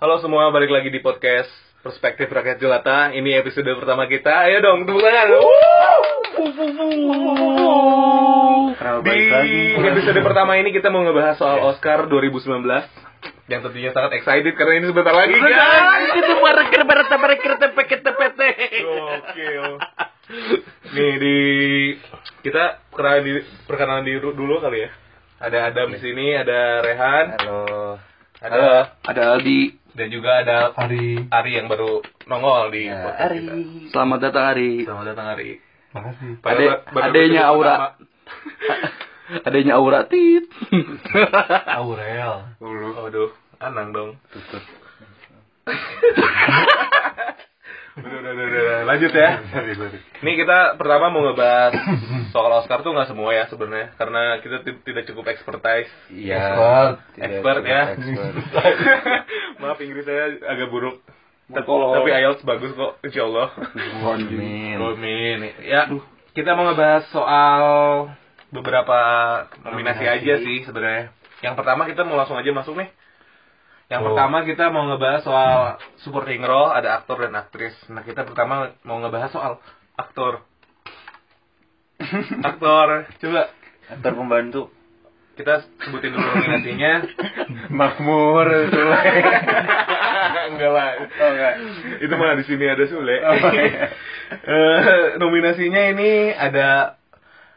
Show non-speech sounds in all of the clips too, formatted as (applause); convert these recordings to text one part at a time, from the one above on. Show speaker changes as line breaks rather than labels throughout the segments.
Halo semua, balik lagi di podcast Perspektif Rakyat Jelata. Ini episode pertama kita. Ayo dong, tepuk tangan.
Kenapa
Di
balik lagi?
episode pertama ini kita mau ngebahas soal Oscar 2019 yang tentunya sangat excited karena ini sebentar lagi guys. Gokil. oh. Nih di kita perkenalan diri, perkenalan diri dulu kali ya. Ada Adam di sini, ada Rehan,
Halo.
ada
Ada Aldi.
dan juga ada
Ari.
Ari yang baru nongol di
Ya,
podcast
Ari.
kita.
Selamat datang Ari.
Selamat datang Ari.
Makasih.
Padahal
Ade-
baru- baru
adenya
episode
Aura.
pertama.
Adanya Aura Tit.
Aurel.
Dulu. Aduh, Anang dong. udah, udah, udah, udah, lanjut ya. Ini kita pertama mau ngebahas soal Oscar tuh nggak semua ya sebenarnya, karena kita ti- tidak cukup expertise.
Iya.
Expert.
Tidak
Expert
cukup
ya.
expert.
Maaf Inggris saya agak buruk. Tapi,
Tolong.
tapi IELTS bagus kok, insya Allah.
Amin.
Amin. Ya, kita mau ngebahas soal beberapa nominasi, aja sih sebenarnya. Yang pertama kita mau langsung aja masuk nih. Yang
Oh.
pertama kita mau ngebahas soal supporting role, ada aktor dan aktris. Nah, kita pertama mau ngebahas soal (laughs) aktor. aktor. Coba
Antar pembantu.
kita sebutin dulu nominasinya.
Makmur. (laughs)
enggak lah.
Oh enggak.
(laughs) Itu mah di sini ada Sule.
Oh,
(laughs)
iya.
Eh, nominasinya ini ada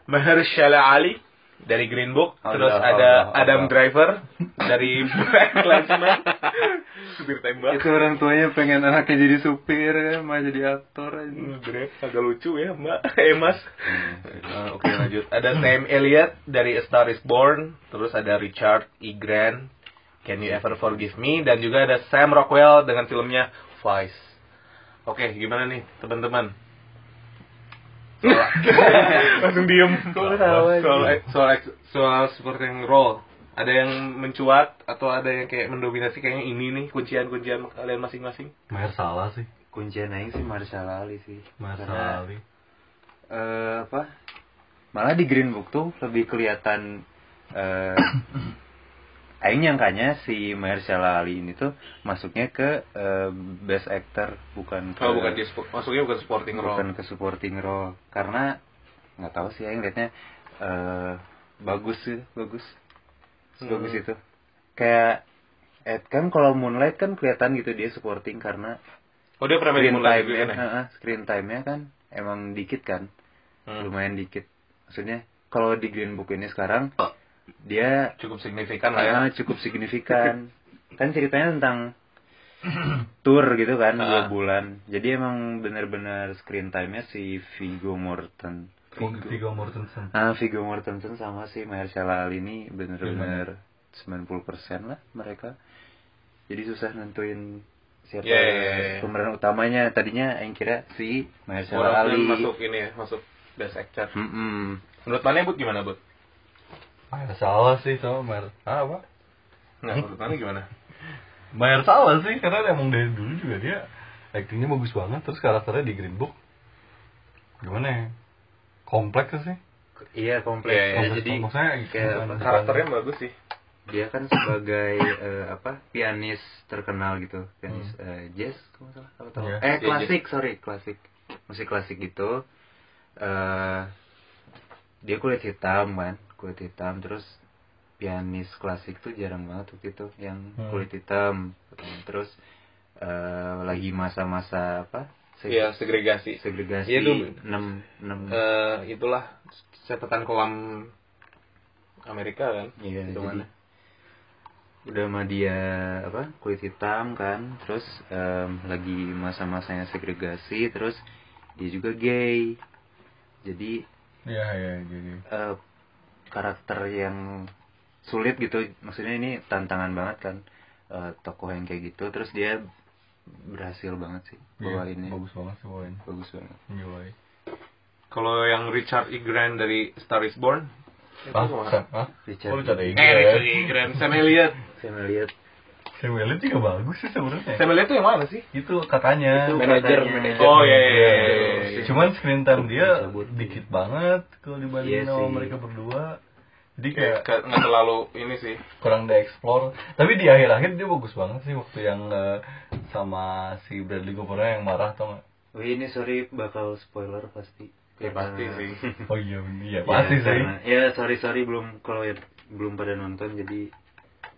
Mahershala Ali dari Green Book,
Allah,
terus ada
Allah,
Adam
Allah.
Driver
(laughs)
dari Black Lives Matter. Supir tembak.
Itu orang tuanya pengen anaknya jadi supir, ya, malah jadi aktor aja.
Sebenernya Hmm, agak lucu ya mbak (laughs) Eh mas Eh, Oke lanjut Ada Sam Elliott dari A Star Is Born Terus ada Richard E. Grant Can You Ever Forgive Me Dan juga ada Sam Rockwell dengan filmnya Vice Oke gimana nih teman-teman (laughs) Langsung diem soal, soal, soal supporting role ada yang mencuat atau ada yang kayak mendominasi kayaknya ini nih kuncian-kuncian kalian masing-masing.
Maher salah sih,
Kuncian aing sih Marsala Ali sih.
Maher
Karena,
salah Ali.
eh, apa? Malah di Green Book tuh lebih kelihatan eh (coughs) aing nyangkanya si Mahershala Ali ini tuh masuknya ke eh, best actor bukan ke
Kalau Oh, bukan dia spo- masuknya bukan supporting role.
bukan ke supporting role karena nggak tahu sih yang liatnya eh bagus sih bagus
Hmm.
bagus itu kayak eh kan kalau Moonlight kan kelihatan gitu dia supporting karena
Oh dia pernah main
screen
Moonlight
time
juga
nya
kan? ya?
screen time nya kan emang dikit kan
Hmm.
lumayan dikit maksudnya kalau di Green Book ini sekarang dia
Cukup signifikan Oh. lah ya.
eh, cukup signifikan
(laughs)
kan ceritanya tentang tour gitu kan dua
Ah.
bulan jadi emang bener-bener screen time-nya si Vigo Mortensen
Vigo, Vigo Mortensen.
Ah, Vigo Mortensen sama si Mahershala Ali ini bener-bener 90% lah mereka. Jadi susah nentuin siapa
Iya, iya, iya.
pemeran utamanya. Tadinya yang kira si Mahershala
Orang
Ali.
yang masuk ini ya, masuk best actor.
Mm-mm.
Menurut mana Bud gimana Bud?
Maher salah sih sama Maher. Ah, apa?
Nah, menurut mana gimana?
Maher salah sih karena emang dari dulu juga dia aktingnya bagus banget terus karakternya di Green Book gimana ya? Kompleks sih.
Iya, kompleks.
Iya, iya.
Kompleks,
Kompleks,
jadi
maksudnya
kayak
Hmm.
bukan-
Karakternya bagus sih.
dia kan sebagai eh, apa? Pianis terkenal gitu. Pianis eh, jazz kalau nggak salah, kalau tahu.
Hmm. Iya.
Eh,
Iya,
klasik, sorry, klasik. Musik klasik gitu. eh dia kulit hitam kan, kulit hitam terus pianis klasik tuh jarang banget waktu itu yang
Hmm.
kulit hitam. Terus eh, lagi masa-masa apa? Seg-
Iya, segregasi.
segregasi
Iya, itu-
6 6
Eh, itulah catatan kolam Amerika kan.
Iya,
Itu mana?
jadi udah sama dia apa kulit hitam kan, terus em, lagi masa-masanya segregasi, terus dia juga gay, jadi
Iya, iya, jadi.
eh, karakter yang sulit gitu, maksudnya ini tantangan banget kan, eh, tokoh yang kayak gitu, terus dia berhasil banget sih bawainnya,
Iya, Bagus banget sih bawain. Iya,
bagus banget.
Enjoy.
Kalau yang Richard E. Grant dari Star Is Born, itu
Ah,
kemana?
Sam, ah.
Richard.
Oh, Richard Ege.
Eh, Richard E. Grant, Sam Elliott.
Saya melihat
Sam Elliott juga bagus sih sebenarnya.
Sam Elliott tuh yang mana sih?
Itu katanya.
Itu
Manajer,
katanya-
manajer.
Oh iya iya iya. iya.
Cuman screen time dia
Dicabut.
dikit banget kalau dibandingin
Iya
sama
sih.
mereka berdua. Jadi kayak
Kayak nggak terlalu ini sih.
kurang dieksplor. Tapi di akhir-akhir dia bagus banget sih waktu yang eh, sama si Bradley Cooper yang marah tau nggak?
Wih ini sorry bakal spoiler pasti.
Ya pasti sih.
Oh iya, iya pasti
ya,
sih.
karena- Ya sorry sorry belum kalau ya, belum pada nonton jadi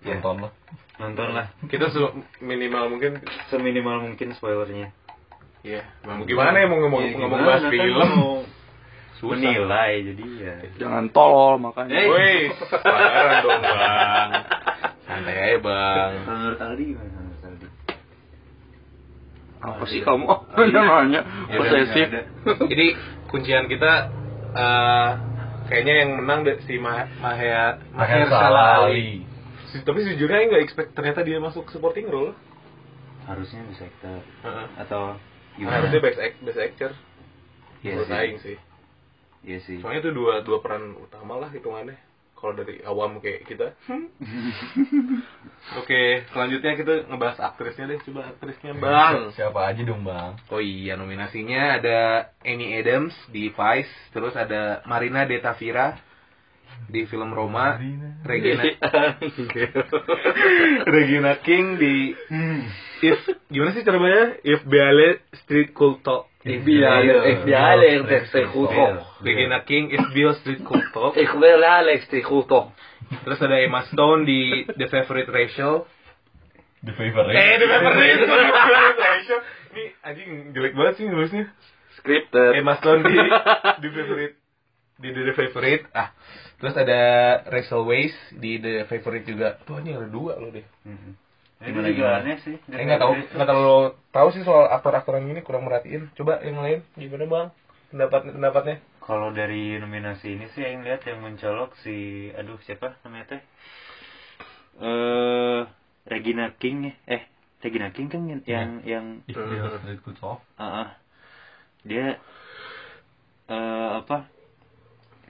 ya,
Nonton lah.
nonton lah
Kita su- minimal mungkin
seminimal mungkin spoilernya.
ya. Mau gimana ya mau ngomong
Ya,
ngomong
gimana
bahas
kan
film?
mau
Susah.
menilai jadi ya.
Jangan tolol makanya.
Eh.
Woi, parah dong bang. Santai aja bang.
Kalau Menurut Aldi gimana menurut Aldi? Oh, iya.
Apa sih kamu? Nanya nanya.
Ya,
Posesif.
nggak
Jadi kuncian kita eh, kayaknya yang menang da- si Ma Mahaya
Makanya
Salah
salah
Ali.
Ali.
Si- Tapi sejujurnya nggak expect ternyata dia masuk supporting role.
Harusnya bisa actor
Heeh.
atau gimana?
Harusnya best, act- best actor
Iya
menurut
sih.
Aing sih.
Iya sih.
Soalnya itu dua dua peran utama lah hitungannya. Kalau dari awam kayak kita. (laughs) Oke, selanjutnya kita ngebahas aktrisnya deh. Coba aktrisnya bang.
Siapa aja dong bang?
Oh iya, nominasinya ada Amy Adams di Vice, terus ada Marina de Tavira di film Roma, Regina
Iya.
(laughs) Regina King di Hmm. If gimana sih cara bacanya? If Biale Street Iya. Cool Talk.
If
Biale- If Biale Street Cool Talk.
Iya. Regina King If Biale Street Cool Talk.
Ik wil Alex die goed toch.
Terus ada Emma Stone di The Favorite Ratio.
The favorite.
Eh, The Favorite The (laughs) Favorite Ratio. Ini anjing jelek banget sih nulisnya.
Scripted.
Emma Stone di Eh, (laughs) di favorite di The Favorite. Ah, terus ada Rachel Weisz di The Favorite juga. Tuh ini ada dua loh deh.
Mhm. Ya,
Gimana,
Itu juga
gimana?
aneh sih.
Saya Eh, nggak tahu nggak terlalu tahu sih soal aktor-aktoran ini kurang merhatiin. Coba yang lain gimana bang? Pendapat pendapatnya?
Kalau dari nominasi ini sih yang lihat yang mencolok si aduh siapa namanya teh? Eh Regina King ya. Eh Regina King kan yang yang, yang
If they are straight good talk.
ah, ah. dia eh apa?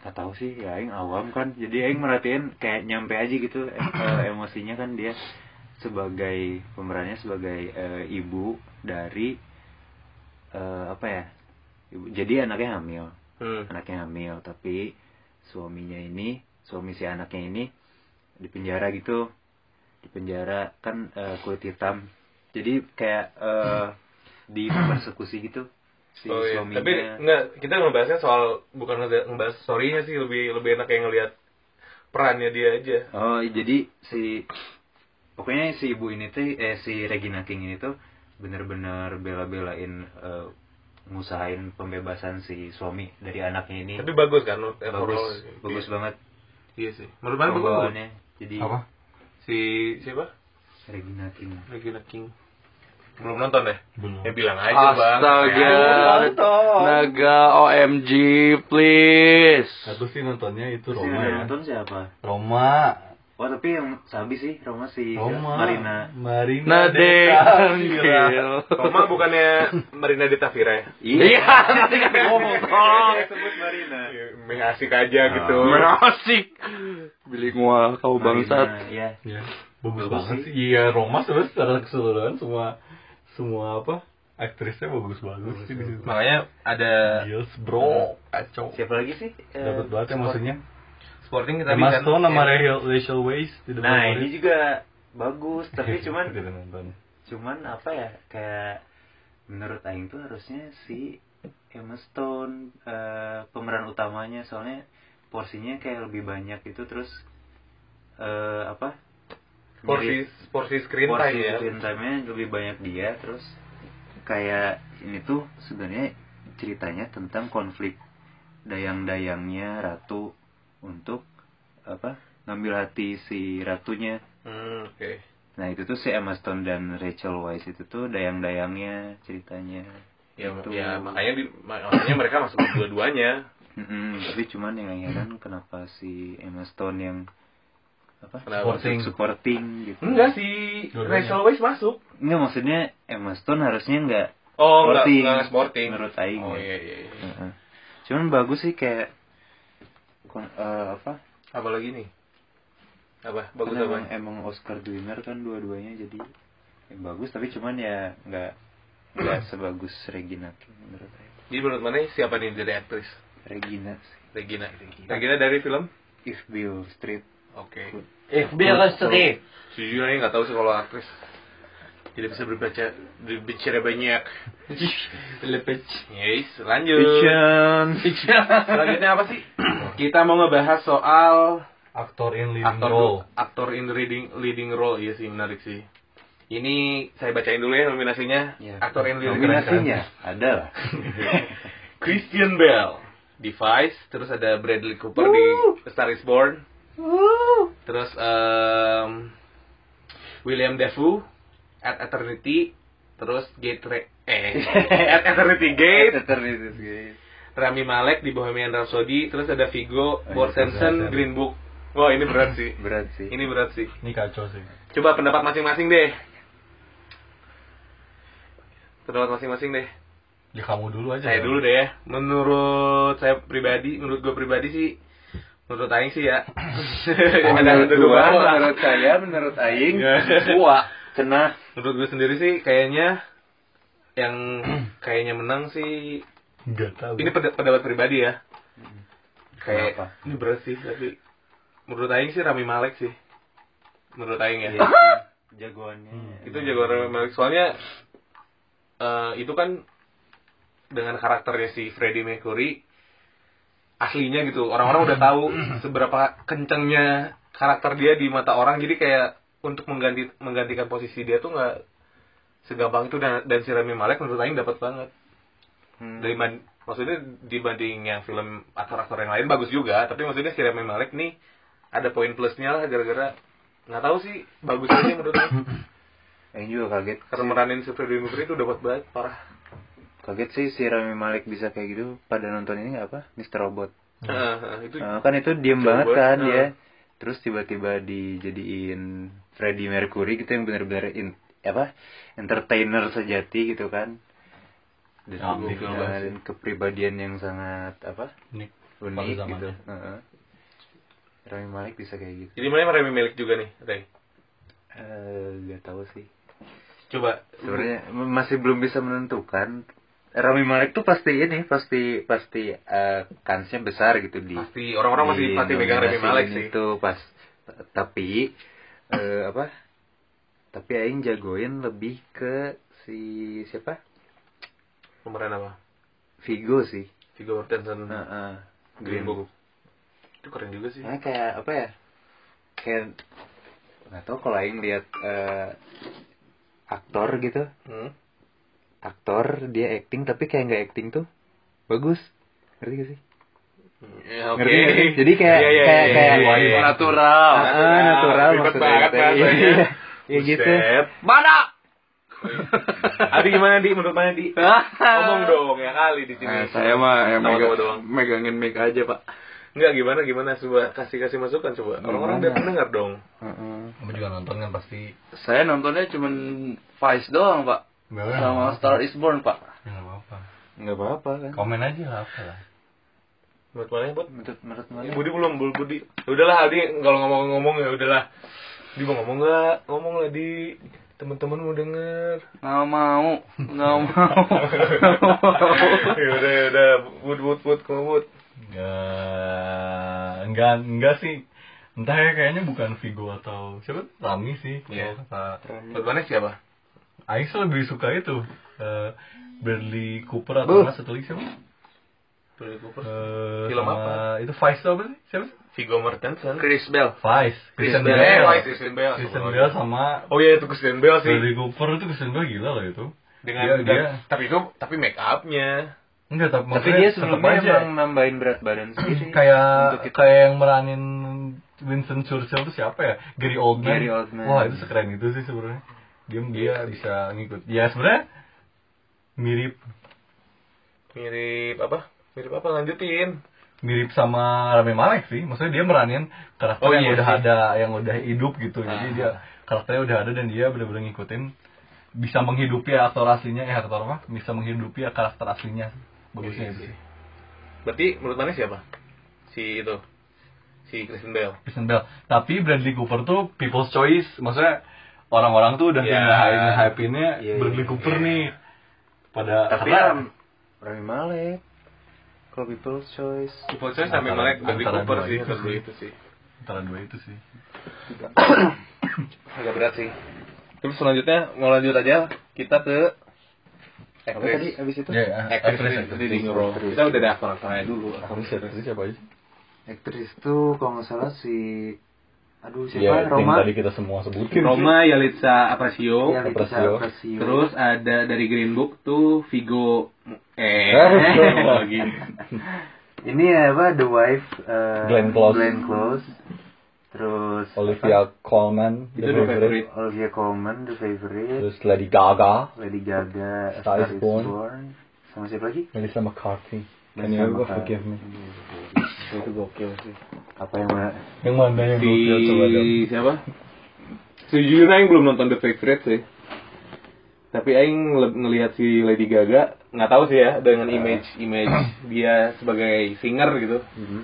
Gak tahu sih, ya aing awam kan. Jadi aing merhatiin kayak nyampe aja gitu eh, eh, emosinya kan dia sebagai pemerannya sebagai eh, ibu dari eh, apa ya? Ibu, jadi anaknya hamil
Hmm.
anaknya hamil tapi suaminya ini suami si anaknya ini di penjara gitu di penjara kan eh, kulit hitam jadi kayak eh,
(clears throat)
di persekusi gitu si
Oh, iya.
suaminya
Tapi nggak kita ngebahasnya soal bukan nge- ngebahas story-nya sih lebih lebih enak kayak ngelihat perannya dia aja.
oh jadi si pokoknya si ibu ini tuh eh si Regina King ini tuh bener-bener bela-belain eh, ngusahain pembebasan si suami dari anaknya ini
Tapi bagus kan?
bagus
overall.
bagus
Iya.
banget
Iya sih. Menurut mana bagus? bagus?
pembawaannya. jadi
Apa?
Si siapa?
Regina King
Regina King. Belum nonton deh?
Belum.
Ya bilang aja bang. Ya,
Astaga. Naga OMG please.
Aku sih nontonnya itu
Terus
Roma
yang
ya.
nonton siapa?
Roma.
Wah tapi yang sabi sih Roma si
Roma.
Iya, Marina.
Marina.
Nade
Deka.
Angel.
Roma bukannya Marina de Tavira ya?
Iya, nanti kan ngomong tolong.
sebut Marina.
(laughs) Yang asik aja gitu.
Asik. Bilingual kau bangsat.
Marina, ya.
Ya, bagus
Bagus
banget
sih.
sih. Iya, Roma sebenarnya secara keseluruhan semua semua apa? Aktrisnya bagus-bagus sih di situ.
Makanya ada
Yes, bro.
kacau.
Siapa lagi sih? Eh,
Dapat banget ya
support.
maksudnya.
Sporting kita
Emma
bisa-
Stone sama
ya.
Rachel Rachel Weisz di
kan?
The
Nah
Favourite.
ini juga
(laughs)
bagus tapi cuman
Tidak nonton.
cuman apa ya kayak menurut Aing tuh harusnya si Emma Stone eh, pemeran utamanya soalnya porsinya kayak lebih banyak itu terus eh, apa
porsi porsi screen time ya.
screen time-nya lebih banyak dia terus kayak ini tuh sebenarnya ceritanya tentang konflik dayang-dayangnya ratu untuk apa ngambil hati si ratunya
Hmm, oke.
nah itu tuh si Emma Stone dan Rachel Weisz itu tuh dayang-dayangnya ceritanya
Ya,
Itu.
ya, makanya di, makanya mereka masuk ke dua-duanya.
Mm-mm, tapi cuman yang Aing heran kenapa si Emma Stone yang apa
Kenapa?
supporting supporting gitu
Enggak si
Dua-duanya.
Rachel Weisz masuk.
Enggak, maksudnya Emma Stone harusnya enggak
Oh, enggak,
Sporting.
enggak sporting.
Menurut Aing,
Oh
ya.
iya iya. iya.
Heeh. Cuman bagus sih kayak kon- eh, apa?
Apalagi nih? Apa? Bagus
Kan
apa?
emang, emang Oscar winner kan dua-duanya jadi ya bagus tapi cuman ya nggak
(clears throat)
nggak sebagus Regina King menurut saya.
Jadi menurut mana siapa nih jadi aktris?
Regina sih.
Regina. Regina dari film?
If Bill Street.
Oke. Eh,
If Bill Street.
Sejujurnya nggak tahu sih kalau aktris. Tidak bisa berbaca berbicara (laughs) banyak. Lepec. Yes, lanjut.
Fiction.
Selanjutnya apa sih? (clears throat) Kita mau ngebahas soal
Aktor in leading
aktor
role.
aktor in leading leading role iya sih menarik sih. Ini saya bacain dulu ya nominasinya.
Ya.
Aktor in leading role.
Nominasinya ada lah.
(laughs) Christian Bale, Device, terus ada Bradley Cooper di A Star Is Born. Terus em, William Dafoe At Eternity, terus Gate Re- eh (laughs) At Eternity
(laughs)
Gate,
Eternities, guys.
Rami Malek di Bohemian Rhapsody, terus ada Vigo
iya,
Mortensen
berat,
Green Book. Wah, ini berat sih.
Berat sih.
Ini berat sih.
Ini kacau sih.
Coba pendapat masing-masing deh. Pendapat masing-masing deh.
Di Ya, kamu dulu aja.
Iya.
Saya dulu deh ya. Menurut saya pribadi, menurut gue pribadi sih, menurut Aing sih
(clears throat)
ya.
Menurut
kedua. Iya.
gua, menurut saya, menurut Aing, gua kena
Menurut gue sendiri sih kayaknya
(clears throat)
yang kayaknya menang sih
Enggak tahu.
ini peda- pendapat pribadi ya. Kayak
Kenapa?
ini berat sih tapi menurut Aing sih Rami Malek sih. Menurut Aing
Iya,
ya.
jagoannya.
Hmm. itu jagoan Rami Malek soalnya eh, itu kan dengan karakternya si Freddie Mercury aslinya gitu orang-orang udah tahu seberapa kencengnya karakter dia di mata orang jadi kayak untuk mengganti menggantikan posisi dia tuh nggak segampang itu dan, dan si Rami Malek menurut Aing dapat banget
Hmm.
dari man- maksudnya dibanding yang film aktor-aktor yang lain bagus juga tapi maksudnya si Rami Malek nih ada poin plusnya lah gara-gara nggak tahu sih bagus aja menurut Aing.
Aing Eh, juga kaget.
Karena meranin si Freddie Mercury itu dapat banget parah.
Kaget sih si Rami Malek bisa kayak gitu pada nonton ini apa? Mr. Robot.
Heeh, heeh, Eh, itu
Nah, kan itu diem
Mr.
banget
Robot,
kan
nah.
ya. Terus tiba-tiba dijadiin Freddie Mercury gitu yang benar-benar in- apa? entertainer sejati gitu kan. Dan,
Ah,
Ya, unik
ya,
banget
dan kepribadian yang sangat apa?
Nih. Pada
unik gitu.
zamannya.
Heeh. Rami Malek bisa kayak gitu.
Jadi mana Remy Malik juga nih, Rey?
Eh, gak tahu sih.
Coba
Sebenarnya m- masih belum bisa menentukan. Rami Malek tuh pasti ini, pasti pasti eh, kansnya besar gitu di.
pasti orang-orang masih
di
pasti megang Remy
nominasi
Malik
ini
sih.
tuh pas tapi eh, apa? Tapi aing jagoin lebih ke si siapa?
Pemeran apa?
Vigo sih.
Viggo Mortensen.
Nah, eh,
Green Book. Itu keren juga sih.
Nah, kayak apa ya? Kayak nggak tahu kalau aing lihat eh, aktor gitu,
Hmm.
aktor dia acting tapi kayak nggak acting tuh bagus. Ngerti gak sih?
Ya, oke.
Ngerti nggak sih? Jadi kayak-
Iya, iya,
kayak-
iya,
kayak-
iya, iya.
natural. Iya.
Ah, ah, natural
Ribet
maksudnya.
banget
Iya,
bahasanya.
iya. Ya gitu.
Nah,
Buset.
Mana?
(laughs) Adi gimana di menurut mana di? Ngomong dong ya kali di sini.
Iya,
Nah, saya mah ya,
Nama-nama
mega-
doang.
megangin mic aja pak.
Enggak gimana gimana coba kasih kasih masukan coba. Orang-orang udah
Gimana?
pendengar dong.
Heeh.
Kamu juga nonton kan pasti.
Saya nontonnya cuman Vice doang pak, sama Star Is Born pak.
Ya, nggak apa-apa.
Nggak apa-apa kan.
Komen aja lah apa lah.
Menurut mana buat
Menurut menurut
Ya,
mana?
Budi belum, Bul- Budi. Ya udahlah Adi, kalau ngomong-ngomong ya udahlah. Di mau ngomong nggak? Ngomong lah di teman-teman mau denger. (laughs)
Nggak mau,
(laughs)
nggak mau.
ya udah, ya udah. Bud, bud, bud, kamu bud.
Enggak, enggak, enggak sih. Entah ya kayaknya bukan Vigo atau siapa Rami sih.
Iya.
Kalau kata
Menurut mana siapa?
Aing sih lebih suka itu eh Bradley Cooper atau nggak satu lagi siapa?
Bradley Cooper.
Eh,
Film
sama- Itu Vice tuh apa sih? Siapa sih?
Viggo Mortensen.
Chris Bell.
Vice. Kristen
Bale. Eh,
Bell.
Kristen Bell.
Kristen Bell sama
Oh iya itu Kristen Bell sih.
Bradley Cooper itu Kristen Bell gila loh itu.
Dengan
dia,
dan- tapi itu tapi make upnya.
enggak tapi,
Tapi
maksudnya
dia
tetep
sebelumnya
aja.
emang nambahin berat badan sendiri.
Hmm, kayak
Gitu ya. untuk kita.
kayak yang meranin Winston Churchill itu siapa ya? Gary Oldman.
Gary Oldman.
Wah, itu sekeren itu sih sebenarnya. Dia dia bisa ngikut. Ya sebenarnya mirip
Mirip apa? Mirip apa? Lanjutin.
mirip sama Rami Malek sih. Maksudnya dia meranin karakter
Oh,
yang
iya
udah
sih.
ada, yang udah hidup gitu. Jadi dia karakternya udah ada dan dia benar-benar ngikutin bisa menghidupi aktor aslinya eh aktor apa? Bisa menghidupi karakter aslinya. Bagusnya itu sih.
Berarti menurut mana siapa? Si itu. Si Kristen Bell.
Kristen Bell. Tapi Bradley Cooper tuh people's choice. Maksudnya orang-orang tuh udah
Iya.
yeah. hype nya
Ya. Iya,
Bradley
iya,
Cooper nih. Pada
Tapi
karena
Ram- Rami Malek. kalau People's Choice
People Choice sampai
Antara-
melek Bradley
antara
Cooper
dua
sih
itu
kalau
sih.
itu sih
antara dua itu sih
agak berat sih terus selanjutnya mau lanjut aja kita ke
apa tadi
aktris
abis itu
ya
aktris leading role kita udah ada aktor aktornya dulu
aktris aktris siapa aja
aktris tuh kalau nggak salah si aduh siapa
ya yang
Roma
tadi kita semua sebutin
Roma Yalitza Aparicio
Iya, Leticia
Aparicio.
Aparicio.
terus ada dari Green Book tuh Vigo eh (laughs) lagi
ini ya apa The Wife eh,
Glenn Close.
Close. terus
Olivia Colman
Itu The Favorite.
Olivia Colman The Favorite
terus Lady Gaga
Lady Gaga A
Star is Born.
sama siapa lagi
Melissa McCarthy Can
Melissa
you ever
McCarthy.
forgive me?
itu gokil sih
apa yang mana
Yang mana yang
di
gokil coba dong?
siapa sejujurnya Aing belum nonton The Favorite sih tapi Aing le- ngelihat si Lady Gaga nggak tahu sih ya dengan image image dia sebagai singer gitu
Mm-hmm.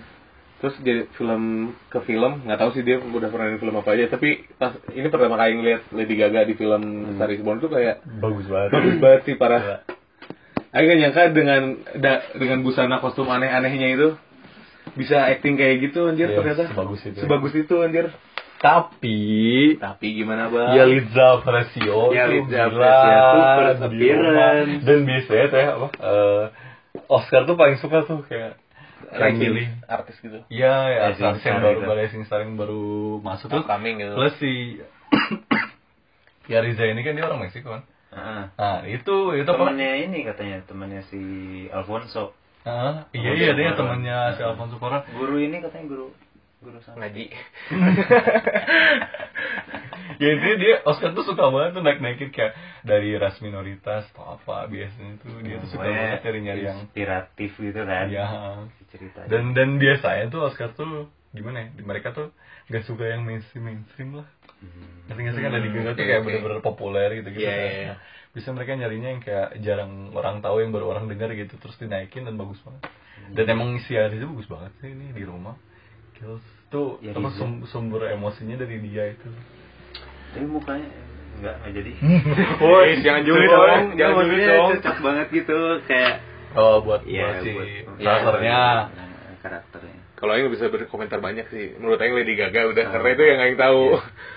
terus jadi film ke film nggak tahu sih dia udah pernah di film apa aja tapi pas ini pertama kali ngeliat Lady Gaga di film
Hmm.
Star Is Born tuh kayak
bagus banget
bagus banget sih
Iya.
parah Aing gak nyangka dengan da- dengan busana kostum aneh-anehnya itu bisa acting kayak gitu anjir
Iya,
ternyata
sebagus itu.
sebagus itu anjir
tapi
tapi gimana
Iya,
bang
Yalitza Aparicio
Yalitza
Ya, itu
Aparicio tuh first
gila di rumah.
appearance.
dan biasanya tuh ya apa eh, Oscar tuh paling suka tuh kayak yang
Rising
milih
artis gitu
Iya, ya,
Rising
artis yang
Star
baru
gitu.
baru Rising Star yang baru masuk tuh.
Upcoming gitu.
Plus si (coughs) Ya Riza ini kan dia orang Meksiko kan. Nah, itu itu apa?
temannya ini katanya temannya si Alfonso
Heeh. iya
Alfonso
iya dia
Cuarón.
temannya si Alfonso Cuarón.
guru ini katanya guru guru sana
ngaji
ya intinya dia Oscar tuh suka banget tuh naik naikin kayak dari ras minoritas atau apa biasanya tuh
Iya,
dia tuh suka banget nyari nyari yang
inspiratif gitu kan
ya
cerita
dan dan biasanya tuh Oscar tuh gimana ya mereka tuh gak suka yang mainstream mainstream lah ngerti nggak sih kan dari Gaga tuh
Hmm. oke,
kayak
oke.
bener-bener populer gitu gitu
Iya, iya, iya.
bisa mereka nyarinya yang kayak jarang orang tahu yang baru orang dengar gitu terus dinaikin dan bagus banget
Hmm.
dan emang si Aris itu bagus banget sih ini di rumah Kills tuh
Ya,
apa,
Riza.
gitu.
sum- sumber emosinya dari dia itu
tapi mukanya enggak enggak jadi
(laughs) Woi, jangan julid dong,
Enggak,
jangan julid
maksudnya
dong.
cocok banget gitu kayak
oh buat
Iya,
buat si
buat-
karakternya
Nah, karakternya
Kalau Aing bisa berkomentar banyak sih. Menurut Aing Lady Gaga
Ah.
udah karena itu yang Aing tahu.
Iya.
Iya.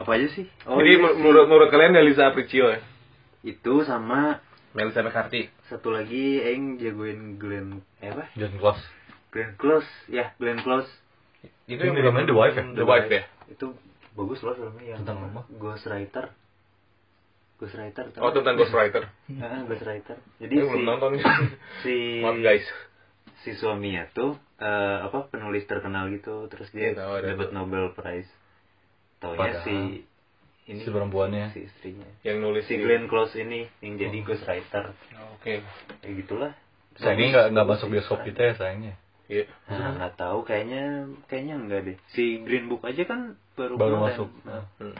apa aja sih
Jadi
Oh,
iya
menur-
sih.
menurut menurut kalian Melissa Apricio ya?
itu sama
Melissa McCarthy.
satu lagi Aing jagoin Glenn eh apa
Iya. John Close
Glenn Close ya Glenn Close
Itu
Ini dari mana, The Wife ya?
The Wife ya.
itu bagus loh filmnya yang
Tentang apa?
Ghostwriter Ghostwriter tau
Oh
nggak?
tentang Ghostwriter.
Ah, Ghostwriter jadi
Aing belum nonton.
si
(laughs) Maaf guys.
si suaminya tuh eh, apa penulis terkenal gitu terus dia
Iya, tahu, ada
dapat
tuh.
Nobel Prize taunya
Padahal
si ini
si perempuannya Oh.
si istrinya
Yang nulis
si
di-
Glenn Close ini yang jadi ghostwriter
Oke.
kayak gitulah
ini nggak nggak masuk bioskop kita ya sayangnya
Iya.
Nah, nggak tahu kayaknya kayaknya enggak deh si Green Book aja kan baru
baru
kemarin.
masuk
Nah,
Hmm.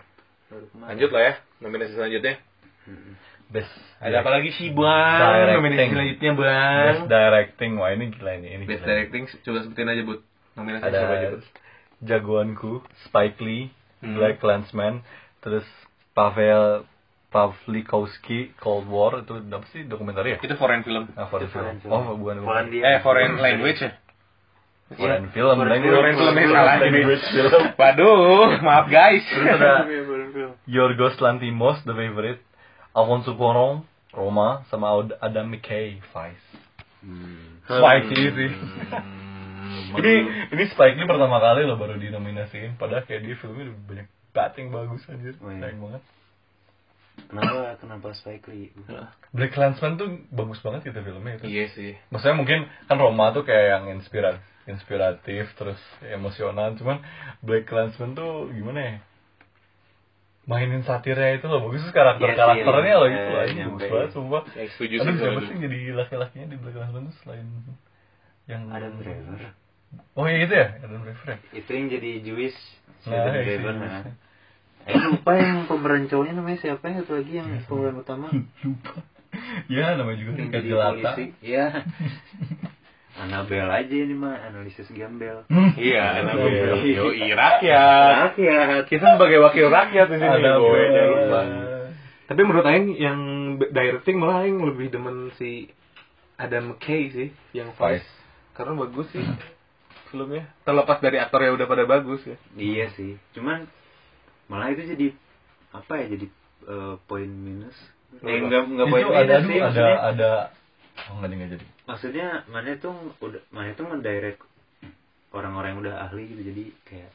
baru kemarin.
Lanjut lah ya nominasi selanjutnya.
best
Ada apa lagi sih
Directing.
bang? Nominasi selanjutnya bang.
Best directing, wah ini gila ini. ini
Best
gila.
Directing coba sebutin aja bud. Nominasi
Ada
coba Hmm. aja bud.
jagoanku Spike Lee, Black Clansman, terus Pavel Pavlikowski Cold War itu apa sih dokumenter ya?
Itu foreign film.
Ah, foreign film.
film.
Oh, bukan bukan.
Polandia.
Eh foreign language ya.
Foreign film. language.
Foreign film yang salah jadi.
Language film.
Waduh, maaf guys.
Terus ada
Iya, baru film.
Yorgos Lantimos, The Favorite, Alfonso Cuarón, Roma, sama Ad- Adam McKay, Vice. Spike Lee sih.
Hmm.
(laughs) ini ini Spike Lee pertama kali loh baru dinominasiin. Padahal kayak dia filmnya udah banyak batting bagus anjir.
Oh, iya.
Sayang banget.
kenapa kenapa Spike Lee
Black Clansman tuh bagus banget gitu filmnya itu.
Iya sih.
Maksudnya mungkin kan Roma tuh kayak yang inspira inspiratif terus emosional cuman Black Clansman tuh gimana ya mainin satirnya itu loh bagus terus karakter
Iya
karakternya
sih,
loh gitu
eh,
aja bagus
nyampe.
banget sumpah
Ya, setuju sih
Aduh,
kalau
siapa
itu.
sih yang jadi laki-lakinya di Black Lives Matter selain yang
ada Driver
Oh iya itu ya, Adam Driver ya?
itu yang jadi Jewish si
Nah,
Adam
iya,
Driver
iya. (laughs)
nah. Eh lupa yang pemeran cowoknya namanya siapa yang satu lagi yang pemeran utama
Lupa. ya namanya juga
yang
Rika
jadi
Jelata.
polisi
(laughs)
ya Anabel aja ini mah analisis Iya. gambel
Hmm.
Iya,
Ada
Anabel.
Bella.
Yo, rakyat.
rakyat
Kita sebagai wakil rakyat di sini.
Ada
Boy.
Bella.
Tapi menurut Aing yang directing malah Aing lebih demen si Adam McKay sih, yang Vice. karena bagus sih filmnya Hmm. terlepas dari aktornya udah pada bagus ya
Iya sih. Cuman malah itu jadi apa ya jadi eh, poin minus. Eh, enggak enggak poin
itu ada
minus
aduh,
sih
ada
maksudnya.
ada oh nggak nggak jadi
Maksudnya mana itu udah mana itu mendirect orang-orang yang udah ahli gitu jadi kayak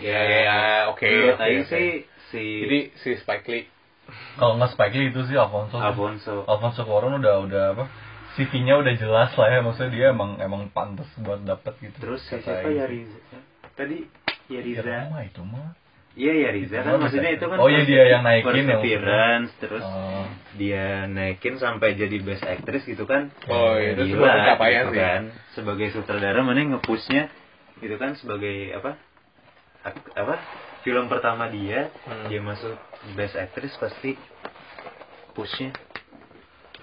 ya
Iya,
ya, ya, oke
Menurut
oke,
Aing
oke.
sih si
jadi si Spike Lee
kalau nggak Spike Lee itu sih Alfonso
Alfonso
Alfonso Cuarón udah udah apa CV-nya udah jelas lah ya maksudnya dia emang emang pantas buat dapet gitu
terus si
Kata
siapa
Aing
ya
sih.
Riza tadi ya
Ya,
Riza
Roma itu mah
iya ya Riza kan
Roma
maksudnya
bisa.
itu kan
Oh, iya,
first-
dia yang naikin
first
ya, maksudnya.
appearance, terus
Oh.
dia naikin sampai jadi best actress gitu kan
oh itu
Gila,
sebuah pencapaian
gitu
sih
kan. sebagai sutradara mana ngepushnya gitu kan sebagai apa ak- apa film pertama dia
Hmm.
dia masuk best actress pasti pushnya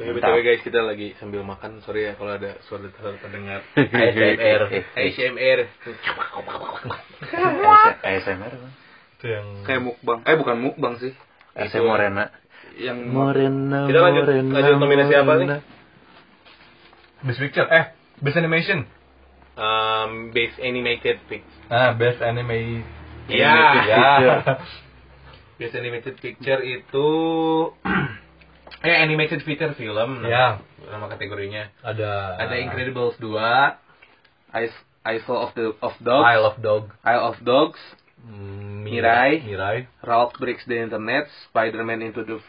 Oke, btw guys kita lagi sambil makan sorry ya kalau ada suara suara
(laughs)
terdengar ASMR ASMR
Iya, ASMR kan?
itu yang
kayak mukbang eh bukan mukbang sih
ASMR Morena
yang
Morena
kita lanjut lanjut nominasi apa nih
Best Picture eh Best Animation
um, base animated picture
ah Best Anime
Iya.
Ya.
ya
Best animated picture itu (clears throat) eh animated feature film
ya Ah.
nama, nama kategorinya.
ada
Ada Incredibles 2, Eyes Isle of the of Dogs,
I Love Dog
Isle of Dogs,
Mm,
Mirai.
Mirai
Ralph Breaks the Internet, Spider-Man into the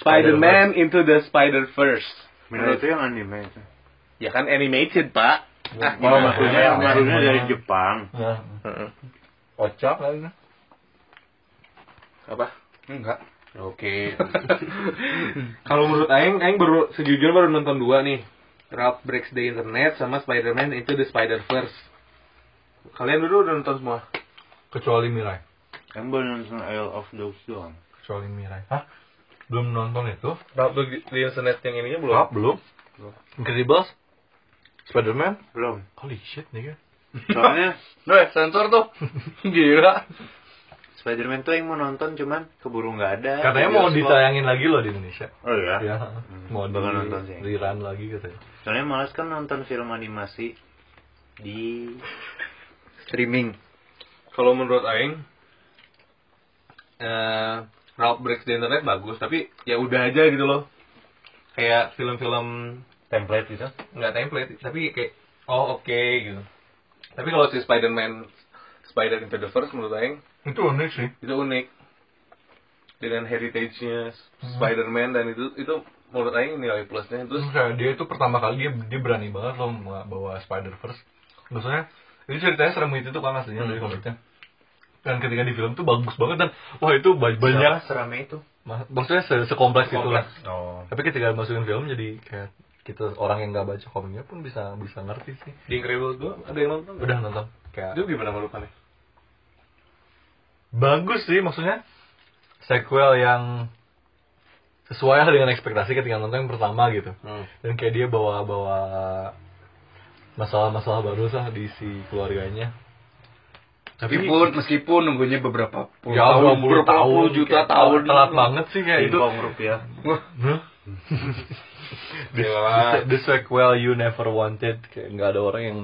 Spider-Man into the Spider-Verse.
itu yang anime itu
Ya kan animated, Pak. Ah,
Malah
gimana?
Oh, maksudnya yang baru.
Maksudnya dari Jepang
ya.
Heeh.
Ocak kali nah.
Apa?
enggak (laughs)
Oke. Kalau menurut Aing, Aing baru sejujurnya baru nonton dua nih. Ralph Breaks the Internet sama Spider-Man Into the Spider-Verse. Kalian dulu udah nonton semua?
kecuali Mirai
kan baru nonton Isle of Dogs doang
kecuali Mirai hah belum nonton itu
Ralph Breaks the Internet yang ininya belum?
Hah, belum Incredibles Spiderman
belum
holy shit kan? nigga
soalnya
Weh, Eh, sensor tuh.
(laughs)
Gila.
Spider-Man tuh yang mau nonton cuman keburu nggak ada
katanya
Iya,
Jadi
mau
ospol.
ditayangin lagi loh di Indonesia
oh iya
ya
Hmm.
mau di
bakal nonton sih.
rerun lagi katanya
Soalnya malas kan nonton film animasi di streaming.
Kalau menurut Aing, eh Ralph Breaks the Internet bagus, tapi ya udah aja gitu loh. Kayak film-film
template gitu
nggak template tapi kayak oh oke gitu tapi kalau si Spider-Man Spider Into the Verse menurut Aing
itu unik sih
itu unik dengan heritage-nya Spider-Man dan itu itu menurut Aing nilai plusnya terus
terus kayak dia itu pertama kali dia, dia berani banget loh ma- bawa Spider Verse maksudnya itu ceritanya serem itu tuh kan aslinya dari
Hmm.
komiknya dan ketika di film tuh bagus banget dan wah itu ba- banyak
serame itu
ma- maksudnya se- sekompleks itu lah
oh.
tapi ketika masukin film jadi kayak kita orang yang nggak baca komiknya pun bisa bisa ngerti sih
di Incredible 2 ada yang nonton
udah nonton kayak
itu gimana menurut Aing
bagus sih maksudnya sequel yang sesuai lah dengan ekspektasi ketika nonton yang pertama gitu
Hmm.
dan kayak dia bawa bawa masalah-masalah baru sah di si keluarganya tapi
Meskipun, meskipun nunggunya beberapa puluh
ya
tahun,
20
berapa
tahun
puluh juta
kayak
tahun.
gitu.
telat, telat banget sih kayak gitu. itu
Bingkong rupiah. (laughs)
Hah? the, the- the sequel you never wanted kayak nggak ada orang yang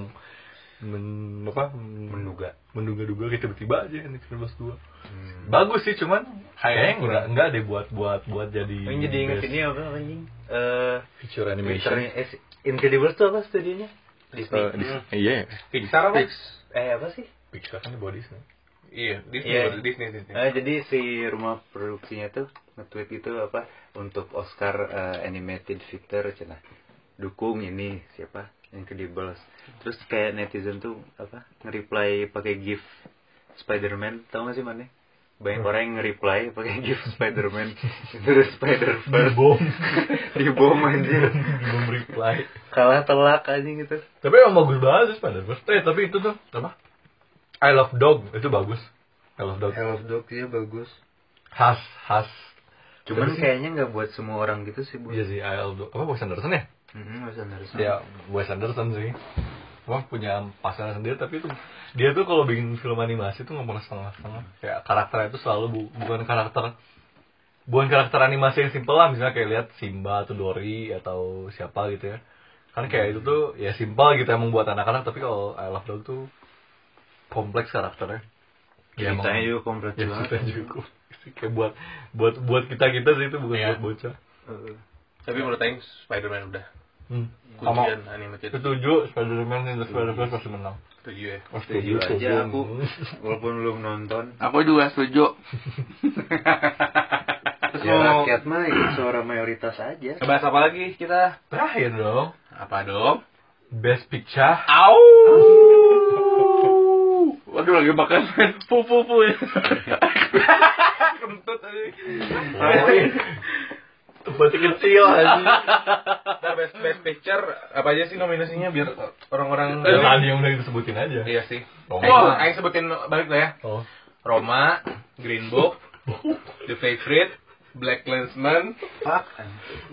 men, apa
Menduga. Hmm.
menduga-duga kayak tiba-tiba aja kan ini Incredibles 2 bagus sih cuman kayaknya nggak nggak deh buat buat buat jadi
Yang jadi inget
best
ini apa anjing? Eh,
feature
Pixarnya
animation
eh, Incredibles tuh apa studionya? Disney.
Eh, Dis- iya
Pixar apa?
eh apa sih?
Pixar kan di body sih (laughs)
Iya, Disney,
Iya.
Disney, Disney.
Eh, jadi si rumah produksinya tuh nge-tweet itu apa untuk Oscar eh, animated feature cenah. Dukung ini siapa? Incredibles. Terus kayak netizen tuh apa? Nge-reply pakai gif Spider-Man tau gak sih mana? Banyak orang yang nge-reply pakai gif
(laughs)
Spider-Man terus Spider-Verse
Bom
(laughs) dibom anjir.
belum reply
Kalah telak anjing gitu.
tapi emang bagus banget sih Spider-Verse eh tapi itu tuh apa I Love Dog itu bagus I Love Dog
Hell of Dog ya bagus.
khas khas
Cuman
Terus-
kayaknya nggak buat semua orang gitu sih, Bu. Mm-hmm,
iya sih I Love Dog apa Wes Anderson ya
Heeh, Mas Anderson.
ya Wes Anderson sih Wah punya pasangan sendiri tapi tuh dia tuh kalau bikin film animasi tuh nggak pernah setengah-setengah kayak karakternya itu selalu bu- bukan karakter bukan karakter animasi yang simpel lah misalnya kayak lihat Simba atau Dory atau siapa gitu ya
Hmm.
kan kayak itu tuh ya simpel gitu emang buat anak-anak tapi kalau I Love Dog tuh kompleks karakternya
Ya,
iya,
ceritanya juga kompleks
ya
banget.
kita juga kayak buat buat buat kita kita sih itu bukan
Iya.
buat bocah
Eh,
Tapi menurut Aing Spider-Man udah
hmm. sama
Iya.
kuncian animated
setuju Spider-Man Into Spider-Verse pasti menang
setuju ya.
Setuju aja aku walaupun belum nonton.
Aku juga setuju.
Ya, rakyat mah ya, suara mayoritas aja.
Bahas apa lagi kita?
(laughs) terakhir dong
Apa dong?
Best Picture
(laughs) Au!
Waduh lagi makan pu pu pu.
ya. Kentut tadi.
(laughs) berarti kecil aja
Nah, best best picture apa aja sih nominasinya biar orang-orang
tadi Eh, yang udah disebutin aja
Iya sih.
Roma.
Aing- Aing sebutin balik lah ya.
oh
Roma, Green Book, The Favorite, Black Clansman,
Fuck.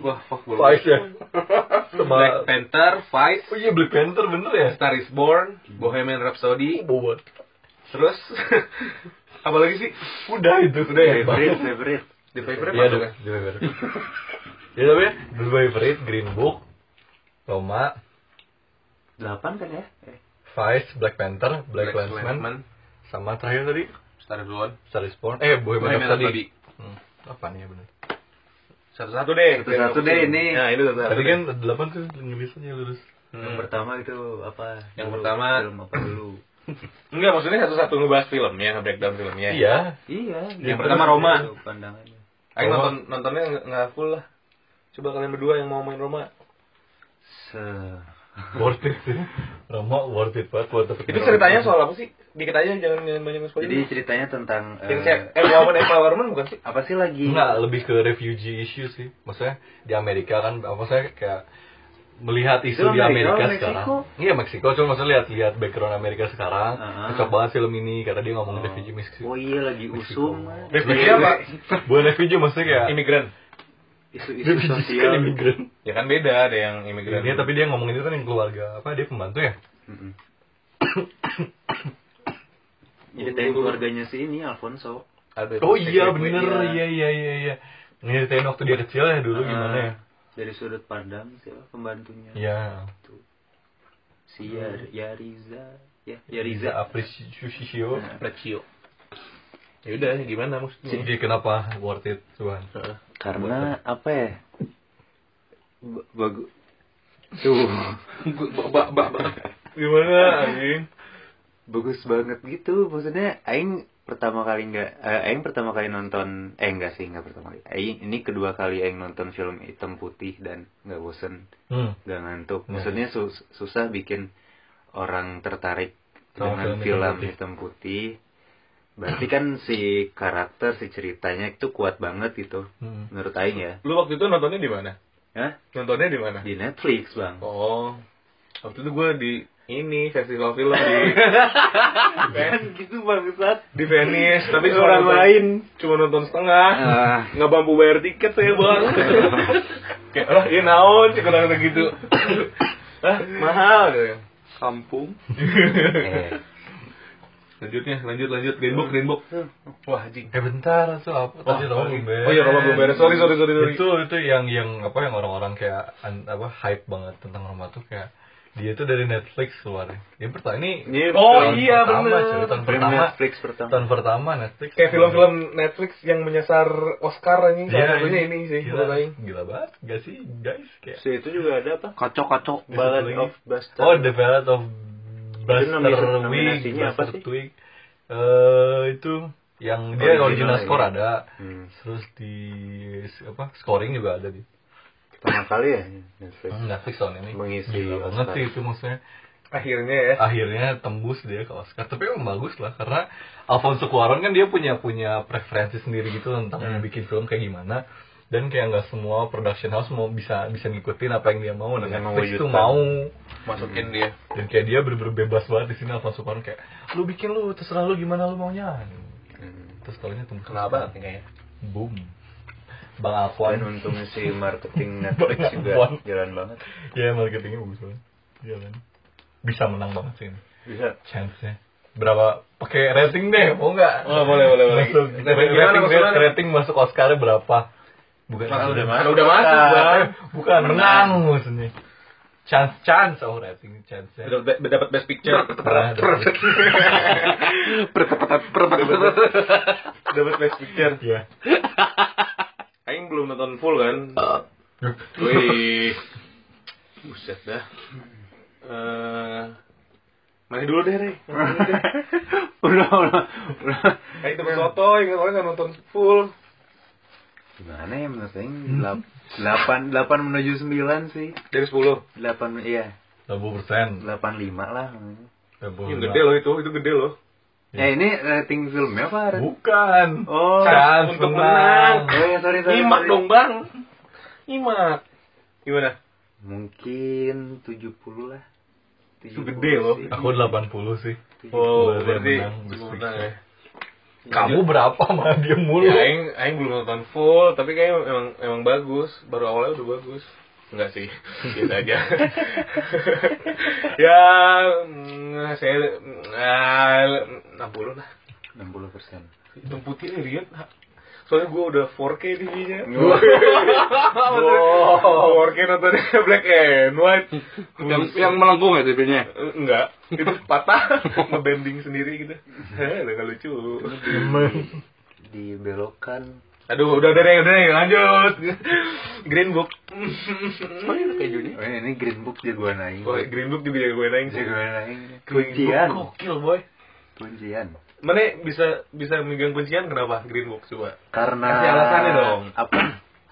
wah fuck bola.
Vice ya
Black
sama
Panther, Vice,
oh iya Black Panther bener ya
Star is Born, Bohemian Rhapsody,
bobot
terus (laughs) apa lagi sih?
udah itu udah ya
Favorite, favorite.
The Favorite
Iya
masuk
dong,
kan?
The Favorite. Ya tapi The Favorite, Green Book, Roma,
Delapan kan ya? Eh,
Vice, Black Panther, Black,
Black
Klansman,
Clansman,
sama terakhir tadi
Star is Born,
Star is Born. Eh, Bohemian
Bohemian
Rhapsody.
Rhapsody.
Hmm, apa nih ya benar?
Satu-satu deh.
Satu-satu Eh, deh ini.
Nah, ini satu-satu.
Tadi
deh.
kan delapan tuh ngelisanya lurus.
Yang pertama itu apa?
Yang
Dulu,
pertama.
film apa dulu?
Enggak, maksudnya satu-satu ngebahas filmnya, nge-breakdown filmnya.
Iya.
iya.
Yang pertama Roma.
itu Pandangannya.
Ayo
Roma.
nonton nontonnya nggak- nggak full lah. Coba kalian berdua yang mau main Roma.
Se
worth it sih. Roma worth it banget buat
Itu ceritanya soal apa sih? Dikit aja jangan jangan banyak spoiler.
Jadi ceritanya tentang eh,
Insect, eh woman empowerment bukan sih?
apa sih lagi?
Enggak, lebih ke refugee issue sih. Maksudnya di Amerika kan, apa saya kayak melihat
Itu
isu di
Amerika,
Amerika
Meksiko.
sekarang. Iya Meksiko, cuma maksudnya lihat lihat background Amerika sekarang.
Ah.
Cocok banget film ini karena dia ngomongin refugee
Oh
Meksiko.
iya lagi usum. kan.
Refugee apa?
Bukan refugee maksudnya kayak
Imigran.
Isu-isu
refugee kan
sosial.
imigran.
Ya kan beda ada yang imigran.
Dia tapi dia ngomongin itu kan yang keluarga apa dia pembantu ya?
Mm-mm. (coughs) Ceritain keluarganya si ini Alfonso.
Ada
Oh iya
secret
bener,
way-nya.
iya iya iya iya. Ngeritain waktu dia kecil ya dulu gimana ya?
Ah, Dari sudut pandang siapa pembantunya?
Iya.
Si Yar- Yariza. Ya,
Riza
Yariza.
Aprisio.
Lecio. Ya udah, gimana maksudnya?
Jadi kenapa worth it Tuhan?
Karena apa ya? Ba- Bagus. Tuh, (laughs)
Bak bak bak.
Gimana
(laughs)
anjing?
bagus banget gitu. Maksudnya aing pertama kali nggak eh, aing pertama kali nonton eh enggak sih enggak pertama kali. Aing ini kedua kali aing nonton film hitam putih dan nggak bosen,
Hmm.
nggak ngantuk.
Nah.
Maksudnya sus- susah bikin orang tertarik
Sama
dengan
Oh, film hitam
film
putih.
hitam putih. Berarti kan si karakter, si ceritanya itu kuat banget gitu.
Hmm.
Menurut aing ya.
Lu waktu itu nontonnya di mana?
Hah?
Nontonnya di mana?
Di Netflix, Bang.
Oh. Waktu itu gue di ini festival film di
Kan gitu bangsat.
(laughs) di Venice, tapi
Orang
cuma nonton-
lain.
Cuma nonton setengah.
Ah,
nggak mampu bayar tiket saya bang (laughs) kayak lah ini naon sih kalau kayak gitu (coughs) ah mahal gitu. kampung
eh,
lanjutnya lanjut lanjut green book green book wah anjing
Eh bentar itu apa? Tadi Roma belum beres.
oh iya Roma belum beres sorry sorry sorry sorry
Itu itu yang yang apa yang orang-orang kayak an- apa hype banget tentang Roma tuh kayak dia tuh dari Netflix keluar. Dia pertama ini
Iya,
tahun
betul. Iya,
pertama,
bener.
cuy. Oh, tahun
film
pertama
Netflix pertama.
tahun pertama Netflix
kayak film-film Netflix yang menyasar Oscar anjing salah
Iya,
satunya ini sih
gila,
menurut Aing.
gila banget gak sih guys kayak
Si itu juga ada apa?
Kocok kocok.
Ballad
lagi.
of Buster.
oh The Ballad of Buster
nominasi-
Wig
nominasinya apa
Buster
sih?
Twig eh itu yang dia
Original
original
ya?
score
iya.
ada
Hmm.
terus di apa scoring juga ada di
pertama kali ya Netflix.
Netflix tahun ini
Mengisi
gila banget
Oscar.
sih itu maksudnya
akhirnya ya
akhirnya tembus dia ke Oscar tapi emang bagus lah karena Alfonso Cuarón kan dia punya punya preferensi sendiri gitu tentang bikin film kayak gimana dan kayak nggak semua production house mau bisa bisa ngikutin apa yang dia mau dan
Bisa
Netflix tuh
mewujudkan.
mau
masukin dia
dan kayak dia bener-bener bebas banget di sini Alfonso Cuarón kayak lu bikin lu terserah lu gimana lu maunya
Hmm.
terus taunya tembus
kenapa kayaknya
boom Bang
Dan
Afwan
untungnya si
(laughs)
marketing Netflix juga jalan banget.
ya marketingnya bagus banget Iya kan bisa menang banget sih ini
Bisa.
chance nya berapa pakai rating deh mau nggak
Oh, boleh, boleh, boleh.
Masuk-
Rating
rating,
gimana
rating,
maksudnya?
rating masuk Oscar berapa bukan
Mas-
udah
udah masuk, Bang.
bukan menang maksudnya Chance, chance, oh rating chance. ya.
Dapat dapat best picture.
Pernah ada.
Dapat best picture.
Iya.
Aing belum nonton full kan. Wih. Buset dah. Eh, mana dulu deh, Rey.
(laughs) udah, udah, udah.
Aing temen soto, yang soalnya nggak nonton full.
Gimana ya menurut Aing? Delap- Delapan, delapan menuju sembilan sih.
Dari 10.
Delapan, iya.
20 persen.
Delapan lima lah.
Ini gede loh itu, itu gede loh. Iya.
Ya ini rating filmnya apa? Ren?
Bukan.
Oh,
Chance
untuk
menang.
menang.
Oh, ya, sorry, sorry,
Imak
sorry.
dong, Bang. Imak. Gimana?
Mungkin 70 lah.
Itu gede loh.
sih.
Aku 80 sih.
Oh,
Boleh
berarti
menang, best
cuma
picture.
menang ya.
Kamu berapa mah dia mulu?
Ya, aing aing belum nonton full, tapi kayaknya emang emang bagus. Baru awalnya udah bagus. Enggak sih, (laughs) biasa aja. ya, mm, saya mm, ah, 60 lah.
60 persen.
Hitam putih nih, lihat. Soalnya gue udah 4K TV-nya.
(laughs)
4K nontonnya black and white.
yang yang melengkung ya tipenya
Eh, Enggak, itu patah, (laughs) ngebending sendiri gitu. Heh, udah gak lucu.
Dibelokan.
Aduh, udah udah deh, udah deh, lanjut. (laughs) Green Book.
kayak Juni
Oh, ini Green Book jagoan aing.
Iya. Wah, Green Book juga ya jagoin aing sih.
Jagoan aing.
Green
Kuncian.
Book gokil, boy.
Kuncian.
Mana bisa bisa megang kuncian kenapa Green Book coba?
Karena
Kasih alasannya dong.
Apa?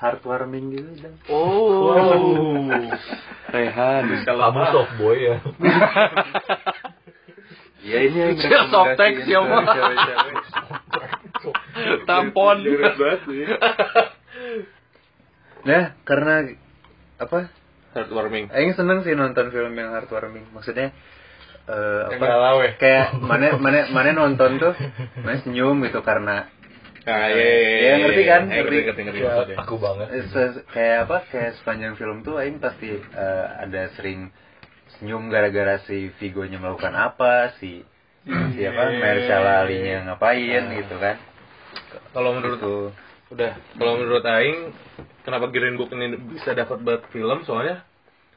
Heartwarming gitu dan
(laughs) Oh.
Rehan.
Kamu soft boy ya.
Ya ini yang
Siap,
rekomendasiin
softtek, siap.
ke (laughs) cewek-cewek.
tampon
Jelas banget sih.
(laughs) Nah, karena apa?
Heartwarming.
Aing seneng sih nonton film yang heartwarming. Maksudnya eh,
Yang
apa?
galau ya?
Kayak mana mana mana nonton tuh, mana senyum gitu karena
Nah,
Ya, ngerti kan?
Eh, Ngerti,
Ngerti.
ngerti, ngerti maksudnya.
Iya, Aku banget.
eh, se- kayak apa? Kayak sepanjang film tuh Aing pasti eh, ada sering senyum gara-gara si Vigonya melakukan apa, si siapa Mahershala Ali-nya ngapain gitu kan?
Kalau menurut
Gitu.
Udah, kalau menurut Aing, kenapa Green Book ini bisa dapat buat film? Soalnya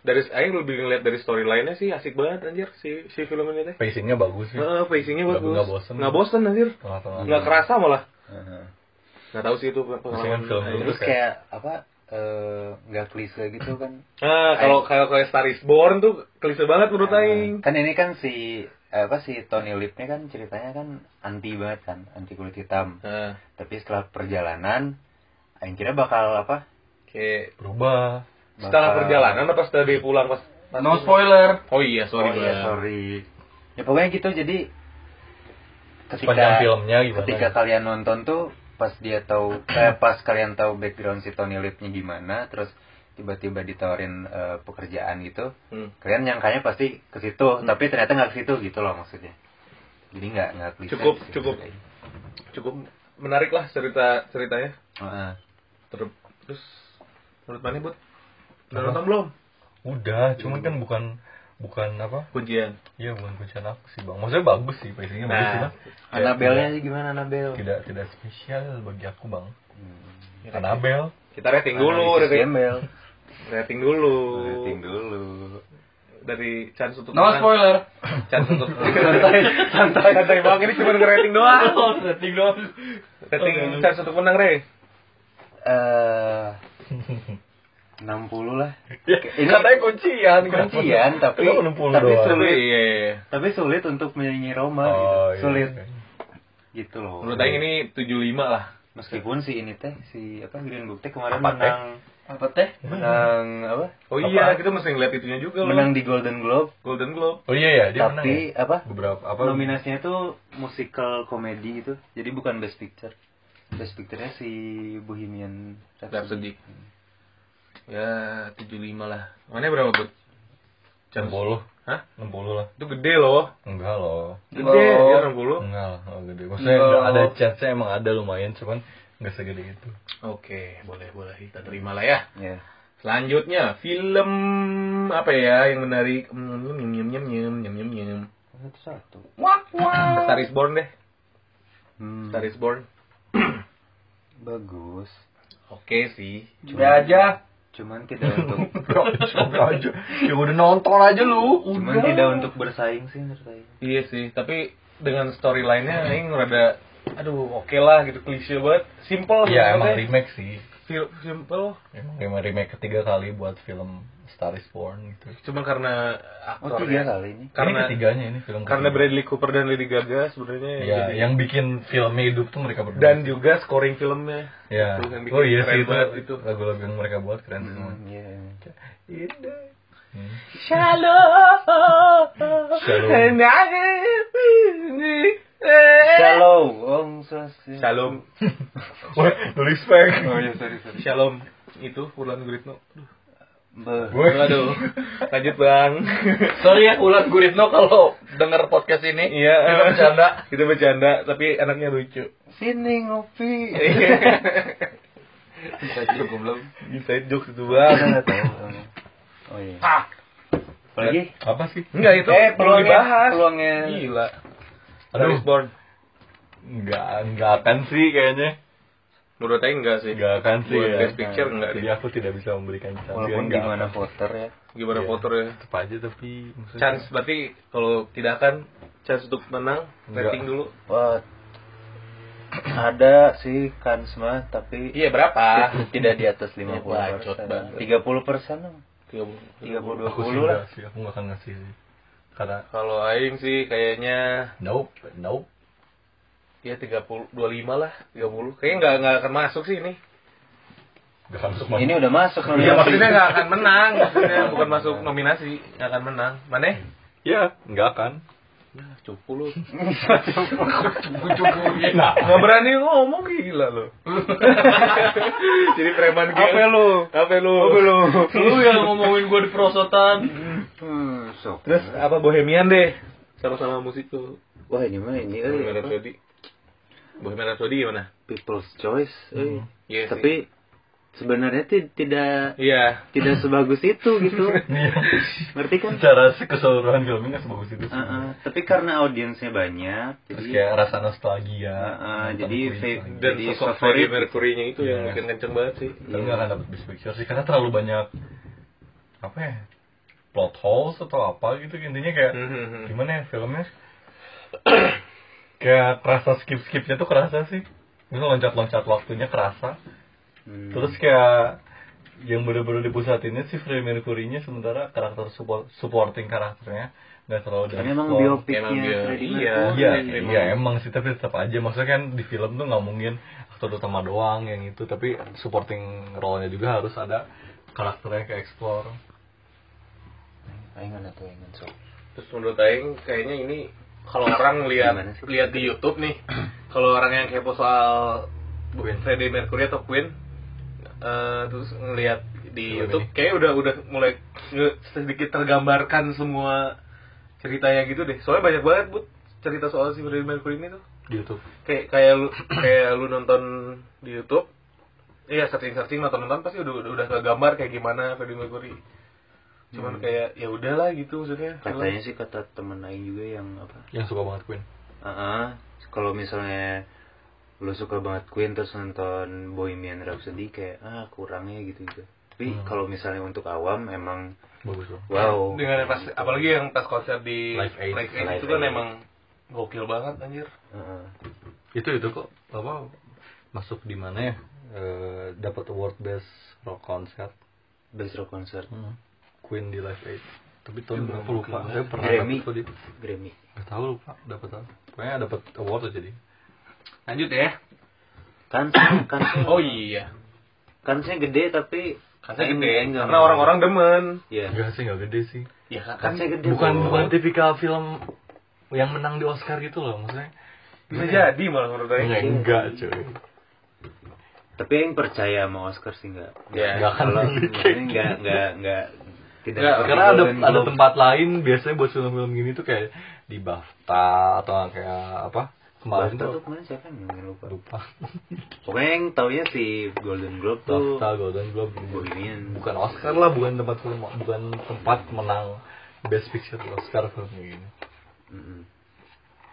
dari Aing lebih ngeliat dari storyline-nya sih asik banget anjir si si film ini teh.
Pacingnya bagus sih.
Heeh, pacing-nya
Nggak-
bagus.
nggak bosen.
Hmm. Nggak bosen, Oh. anjir.
Tengah-tengah.
Nggak kerasa malah.
Heeh.
Nggak tahu sih itu
Biasanya
pengalaman.
film
Aing.
dulu
Terus kayak apa? eh, nggak klise gitu kan?
Ah, kalau kalau kayak Star is Born tuh klise banget menurut Aing.
kan ini kan si apa si Tony Lipnya kan ceritanya kan anti banget kan anti kulit hitam
Nah,
tapi setelah perjalanan Aing kira bakal apa
kayak
Berubah.
setelah
Bakal-
perjalanan apa setelah dia pulang pas
no spoiler
Oh iya, sorry.
oh iya
Bang.
sorry ya pokoknya gitu jadi
Panjang
ketika
filmnya gimana?
ketika kalian nonton tuh pas dia tahu eh, pas kalian tahu background si Tony Lipnya gimana terus tiba-tiba ditawarin eh, pekerjaan gitu
Hmm.
kalian nyangkanya pasti ke situ tapi ternyata nggak ke situ gitu loh maksudnya jadi nggak nggak klise
Cukup,
sih,
cukup.
menurut Aing.
Cukup menarik lah cerita ceritanya.
Heeh.
Ter- Terus menurut mana, Bud? Udah nonton belum?
Udah, cuman kan bukan bukan apa?
Kuncian.
Iya, bukan kuncian aku sih, Bang. Maksudnya bagus sih, pacingnya bagus
Nah,
cuma
Anabelnya gimana Anabel?
Ya, tidak tidak spesial bagi aku, Bang.
Hmm.
Anabel.
Kita rating dulu, Nah, rating,
Gembel.
rating dulu.
Rating dulu.
Dari chance untuk
no
menang.
spoiler
(coughs) Chance untuk santai, santai, santai banget ini cuma ngerating (coughs) Oh, doang. Oh, iya.
rating dong
Rating chance untuk menang, Re.
Eh 60 lah.
Iya.
Ini
kuncian, kan?
kuncian tapi tapi sulit,
Iya, iya.
tapi sulit untuk menyaingi Roma gitu.
Oh, iya.
Sulit gitu loh.
Menurut Aing ini 75 lah.
meskipun si ini teh si apa Green Book teh kemarin
Apa teh?
menang
apa teh
menang apa?
Oh
Apa?
iya, kita mesti ngeliat itunya juga loh.
Menang di Golden Globe
Golden Globe.
Oh iya ya, dia menang ya.
tapi apa?
Beberapa apa?
nominasinya tuh musical comedy gitu jadi bukan best picture best picture-nya si Bohemian
Rhapsody.
Rhapsody
Ya, 75 lah. Mana berapa, Bud?
60.
Hah?
60 lah.
Itu gede loh.
Enggak loh.
Gede, Iya,
Oh.
dia 60.
Enggak lah, enggak gede. Maksudnya
Enggak.
ada chance-nya emang ada lumayan, cuman enggak segede itu.
Oke, boleh, boleh. Kita terima lah ya.
ya
Selanjutnya film apa ya yang menarik? Hmm, Nyem nyem nyem nyem nyem nyem nyem.
satu Oh, satu
Wah wah. Star is Born deh.
hmm,
Star is Born.
bagus
Oke sih. (laughs)
udah aja
(laughs) cuman tidak untuk
aja. Ya udah nonton aja lu.
cuman
Udah.
tidak untuk bersaing sih menurut saya
Iya sih, tapi dengan storyline-nya aing rada aduh oke lah gitu klise banget. Simple
Iya,
ya emang
sebenarnya.
remake sih
Sim- Simple.
emang, emang remake ketiga kali buat film Star is Born gitu
Cuma karena
oh
aktornya
tiga kali ini
karena
karena
ketiganya ini film
karena
ketiga.
Bradley Cooper dan Lady Gaga sebenarnya
ya
jadi-
yang bikin filmnya hidup tuh mereka berdua
dan juga scoring filmnya.
ya
itu yang bikin
oh iya
keren
sih itu,
banget itu. Hmm.
lagu-lagu yang mereka buat keren semua
Iya, iya.
Hmm.
Shalom.
Eh! Shalom, Om Swastiastu.
Shalom.
(laughs) Wah, nulis fake.
Oh iya, sorry, sorry.
Shalom. Itu Wulan Guritno.
Beuh.
Aduh. Lanjut, Bang.
Sorry ya Ulan Guritno kalau denger podcast ini.
Iya. (laughs)
Kita bercanda.
Kita bercanda, tapi anaknya lucu.
Sini ngopi.
(laughs)
Inside jokes itu, Bang.
Nggak tahu, Om. Oh iya. Lagi?
Apa sih?
Enggak itu
Eh,
perlu
peluangnya- Iya.
dibahas.
peluangnya.
Gila. Star
Aduh.
is Born.
Enggak, enggak akan sih kayaknya.
Menurut saya enggak sih.
Enggak akan sih.
Buat
ya.
best picture enggak
Jadi aku tidak bisa memberikan chance.
Walaupun
Enggak.
gimana voter ya.
Gimana
Iya.
voter ya?
Tetep aja tapi maksudnya-
Chance berarti kalau tidak akan chance untuk menang
Enggak.
rating dulu.
Wah. Ada sih Kansma tapi
Iya,
(laughs)
berapa?
Ah, tidak di atas 50
bacot banget.
30 persen dong. 30
aku sih
20
enggak
lah.
sih, aku enggak akan ngasih sih. Karena
Kalau aing sih kayaknya
nope, nope.
ya 30 25 lah, 30. Kayaknya enggak enggak akan masuk sih ini.
Enggak akan masuk
Ini udah masuk nominasi.
Iya maksudnya nggak akan menang, maksudnya bukan masuk nominasi, nggak akan menang. Mana?
Ya, enggak akan.
Cupu lu.
(laughs) Nah,
Nggak berani ngomong gila (laughs) lu. Jadi preman gila. Apa lu? Apa lu? Apa lu?
lu yang ngomongin gua di perosotan.
Hmm, sok.
Terus apa Bohemian deh? Sama-sama musik tuh.
Wah, ini mah ini eh,
Bohemian
apa?
Rhapsody. Bohemian Rhapsody gimana?
People's Choice. eh.
Iya sih.
Tapi sebenarnya ti- tidak
Iya.
tidak sebagus itu gitu. Ngerti kan?
Secara Iya. keseluruhan filmnya nggak sebagus itu. sih.
Heeh, Tapi karena audiensnya banyak,
Terus
jadi
ya,
kayak rasa nostalgia.
Heeh,
nonton
jadi
Queen
fa-
lagi.
Dan
Jadi
sosok
favorit.
Freddie Mercury-nya itu yang
Iya.
bikin kenceng banget sih.
Tapi nggak akan dapat best picture sih karena terlalu banyak apa ya plot holes atau apa gitu intinya kayak
Mhm,
Hmm.
gimana ya filmnya kayak kerasa skip skipnya tuh kerasa sih itu loncat loncat waktunya kerasa
Hmm.
terus kayak yang bener-bener dipusatinnya si Freddie Mercury-nya sementara karakter support, supporting karakternya nggak terlalu
Kan
dari
emang
plot.
biopiknya
emang bio-
Freddie
iya,
Mercury.
Iya, iya emang sih tapi tetap aja maksudnya kan di film tuh nggak mungkin aktor utama doang yang itu tapi supporting role-nya juga harus ada karakternya ke explore.
Aing mana tuh aing sok.
Terus menurut Aing kayaknya ini kalau orang lihat
Gimana sih?
lihat di YouTube nih, (clears throat) kalau orang yang kepo soal Queen, Freddie Mercury atau Queen, eh, terus ngelihat di
Film
YouTube,
ini.
kayaknya udah udah mulai nge- sedikit tergambarkan semua ceritanya gitu deh. Soalnya banyak banget bu cerita soal si Freddie Mercury ini tuh.
di YouTube.
Kayak kayak lu (clears throat) kayak lu nonton di YouTube, iya searching searching nonton nonton pasti udah udah, udah kegambar kayak gimana Freddie Mercury. Cuman kayak ya udahlah gitu maksudnya.
Katanya sih kata temen aing juga yang apa?
Yang suka banget Queen.
Heeh. Kalau misalnya lu suka banget Queen terus nonton Bohemian Rhapsody kayak ah kurangnya gitu gitu. Tapi kalau misalnya untuk awam emang
Bagus loh.
wow. Gitu.
dengan pas apalagi ya. yang pas konser di
Live Aid.
Live Aid
Live
itu kan
Aid.
emang gokil banget anjir
Heeh.
Itu itu kok apa masuk di mana ya? Eh, dapat award best rock concert
Best Rock Concert
Queen di Live Aid. Tapi tahun Iya, berapa lupa? Saya pernah
Grammy.
dapet kok di-
Grammy.
Nggak tahu lupa dapat apa. Pokoknya dapat award aja jadi.
lanjut ya
Kan (coughs) kan
oh iya
kansnya gede tapi
karena
aing-
gede
aing nggak
karena
mau.
orang-orang demen
Iya.
Enggak sih, enggak gede sih.
ya kan
Kansnya gede.
bukan
Bro.
bukan tipikal film yang menang di Oscar gitu loh maksudnya
bisa jadi malah menurut saya
enggak enggak cuy
tapi yang percaya sama Oscar sih nggak
Ya,
nggak kalau
kalau-
(laughs) nggak nggak nggak tidak
Nggak,
seperti
karena ada
Golden
ada
Globe.
tempat lain biasanya buat film-film gini tuh kayak di BAFTA atau kayak apa kemarin
BAFTA tuh
tuh
kemarin siapa yang ngomongin lupa
lupa
pokoknya yang taunya si Golden Globe tuh
BAFTA Golden Globe gitu.
Bohemian.
bukan Oscar lah bukan tempat film bukan tempat menang Best Picture di Oscar film gini
Mm-mm.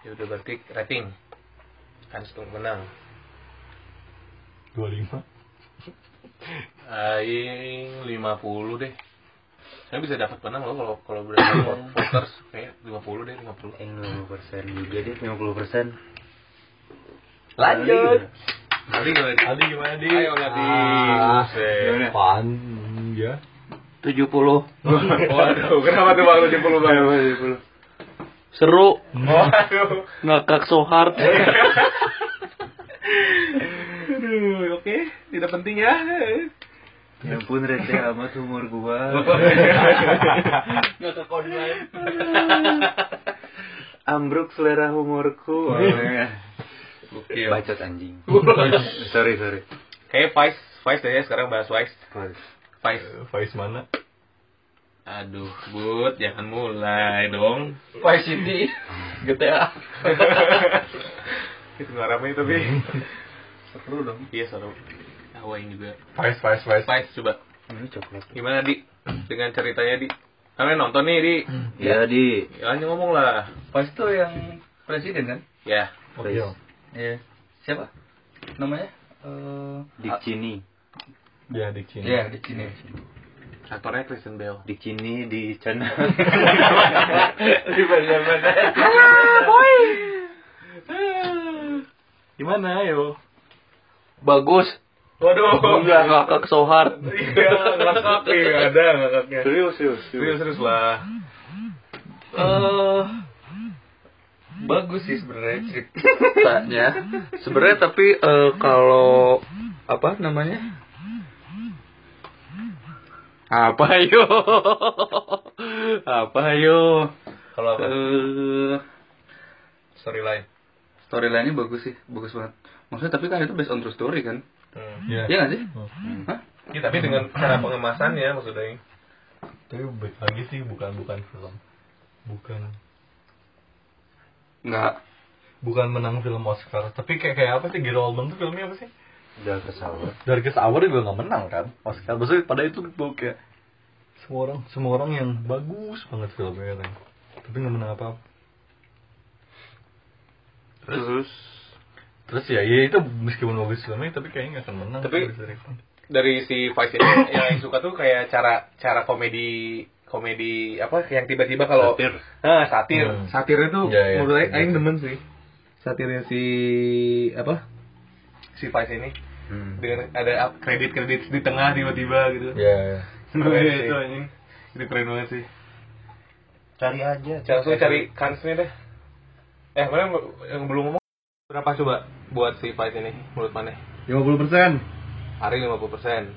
ya udah berarti rating kan menang
25
Aing 50 deh. Saya bisa dapat menang loh kalau kalau berada voters kayak 50 deh 50.
Yang 50% juga deh, 50%.
Lanjut. Tadi gimana? Di?
Adi gimana di?
Ayo Adi.
Ah,
Buset.
Pan, ya.
70
Waduh, kenapa tuh Bang 70 Bang?
seru
Waduh.
ngakak so hard
Aduh, oke, tidak penting ya.
Ya ampun receh amat humor gua.
Nggak ke kode lain.
(laughs) Ambruk selera humorku.
Oke.
Bacot anjing. (laughs) sorry, sorry.
Kayak Vice, Vice deh ya sekarang bahas Vice. Vice.
Faiz mana?
Aduh, Bud, jangan mulai dong. Gitu ya.
Faiz
(laughs)
City. GTA.
Itu nggak ramai tapi. seru dong. Iya seru. Awain juga.
Faiz, Faiz, Faiz.
Vice coba.
Ini coklat.
Gimana di? Dengan ceritanya di? Kalian nonton nih di?
Ya di.
Ya hanya ngomong lah.
Pas itu yang presiden kan?
Ya.
Oke.
Iya. Siapa? Namanya? Eh,
Dik Cini.
Dia adik Cina.
Iya, di sini.
Aktornya Kristen Bell.
Dik Cini di channel.
Di mana-mana. Gimana yo?
bagus
Waduh.
enggak ngakak so hard
Iya, ngakak (laughs) ya, ada ngakaknya.
serius, serius,
Serius serius lah.
Eh, bagus sih sebenarnya cerita.
ceritanya sebenarnya tapi eh, kalau apa namanya apa yo apa yo
Kalau apa?
Eh,
Storyline.
Storyline-nya bagus sih, bagus banget. Maksudnya tapi kan itu based on true story kan?
Hmm.
Iya.
Iya nggak sih?
Ya, tapi dengan cara pengemasannya maksudnya.
Tapi baik lagi sih bukan bukan film. Bukan
Nggak.
bukan menang film Oscar, tapi kayak kayak apa sih? Giro Oldman tuh filmnya apa sih?
Udah kesawat.
Darkest Hour juga nggak menang kan Oscar maksudnya pada itu tuh kayak semua orang semua orang yang bagus banget filmnya kan tapi nggak menang apa, apa
Terus
terus ya, ya itu meskipun bagus filmnya tapi kayaknya nggak akan menang
Tapi-
Bisa refund.
dari si Vice ini (coughs) yang Aing suka tuh kayak cara cara komedi komedi apa yang tiba-tiba kalau
Satir.
Ah, satir.
Hmm.
Satir itu
Iya, iya.
menurut Aing
Iya.
Aing demen sih. Satirnya si apa? Si Vice ini
Hmm.
dengan ada up- kredit-kredit di tengah tiba-tiba gitu. (laughs)
ya ya.
Keren
Iya,
sih.
itu
Itu keren banget sih.
Cari aja.
Langsung cari kansnya deh. Eh, mana yang- yang belum ngomong berapa coba buat si Vice ini menurut mana?
50%.
Hari 50%.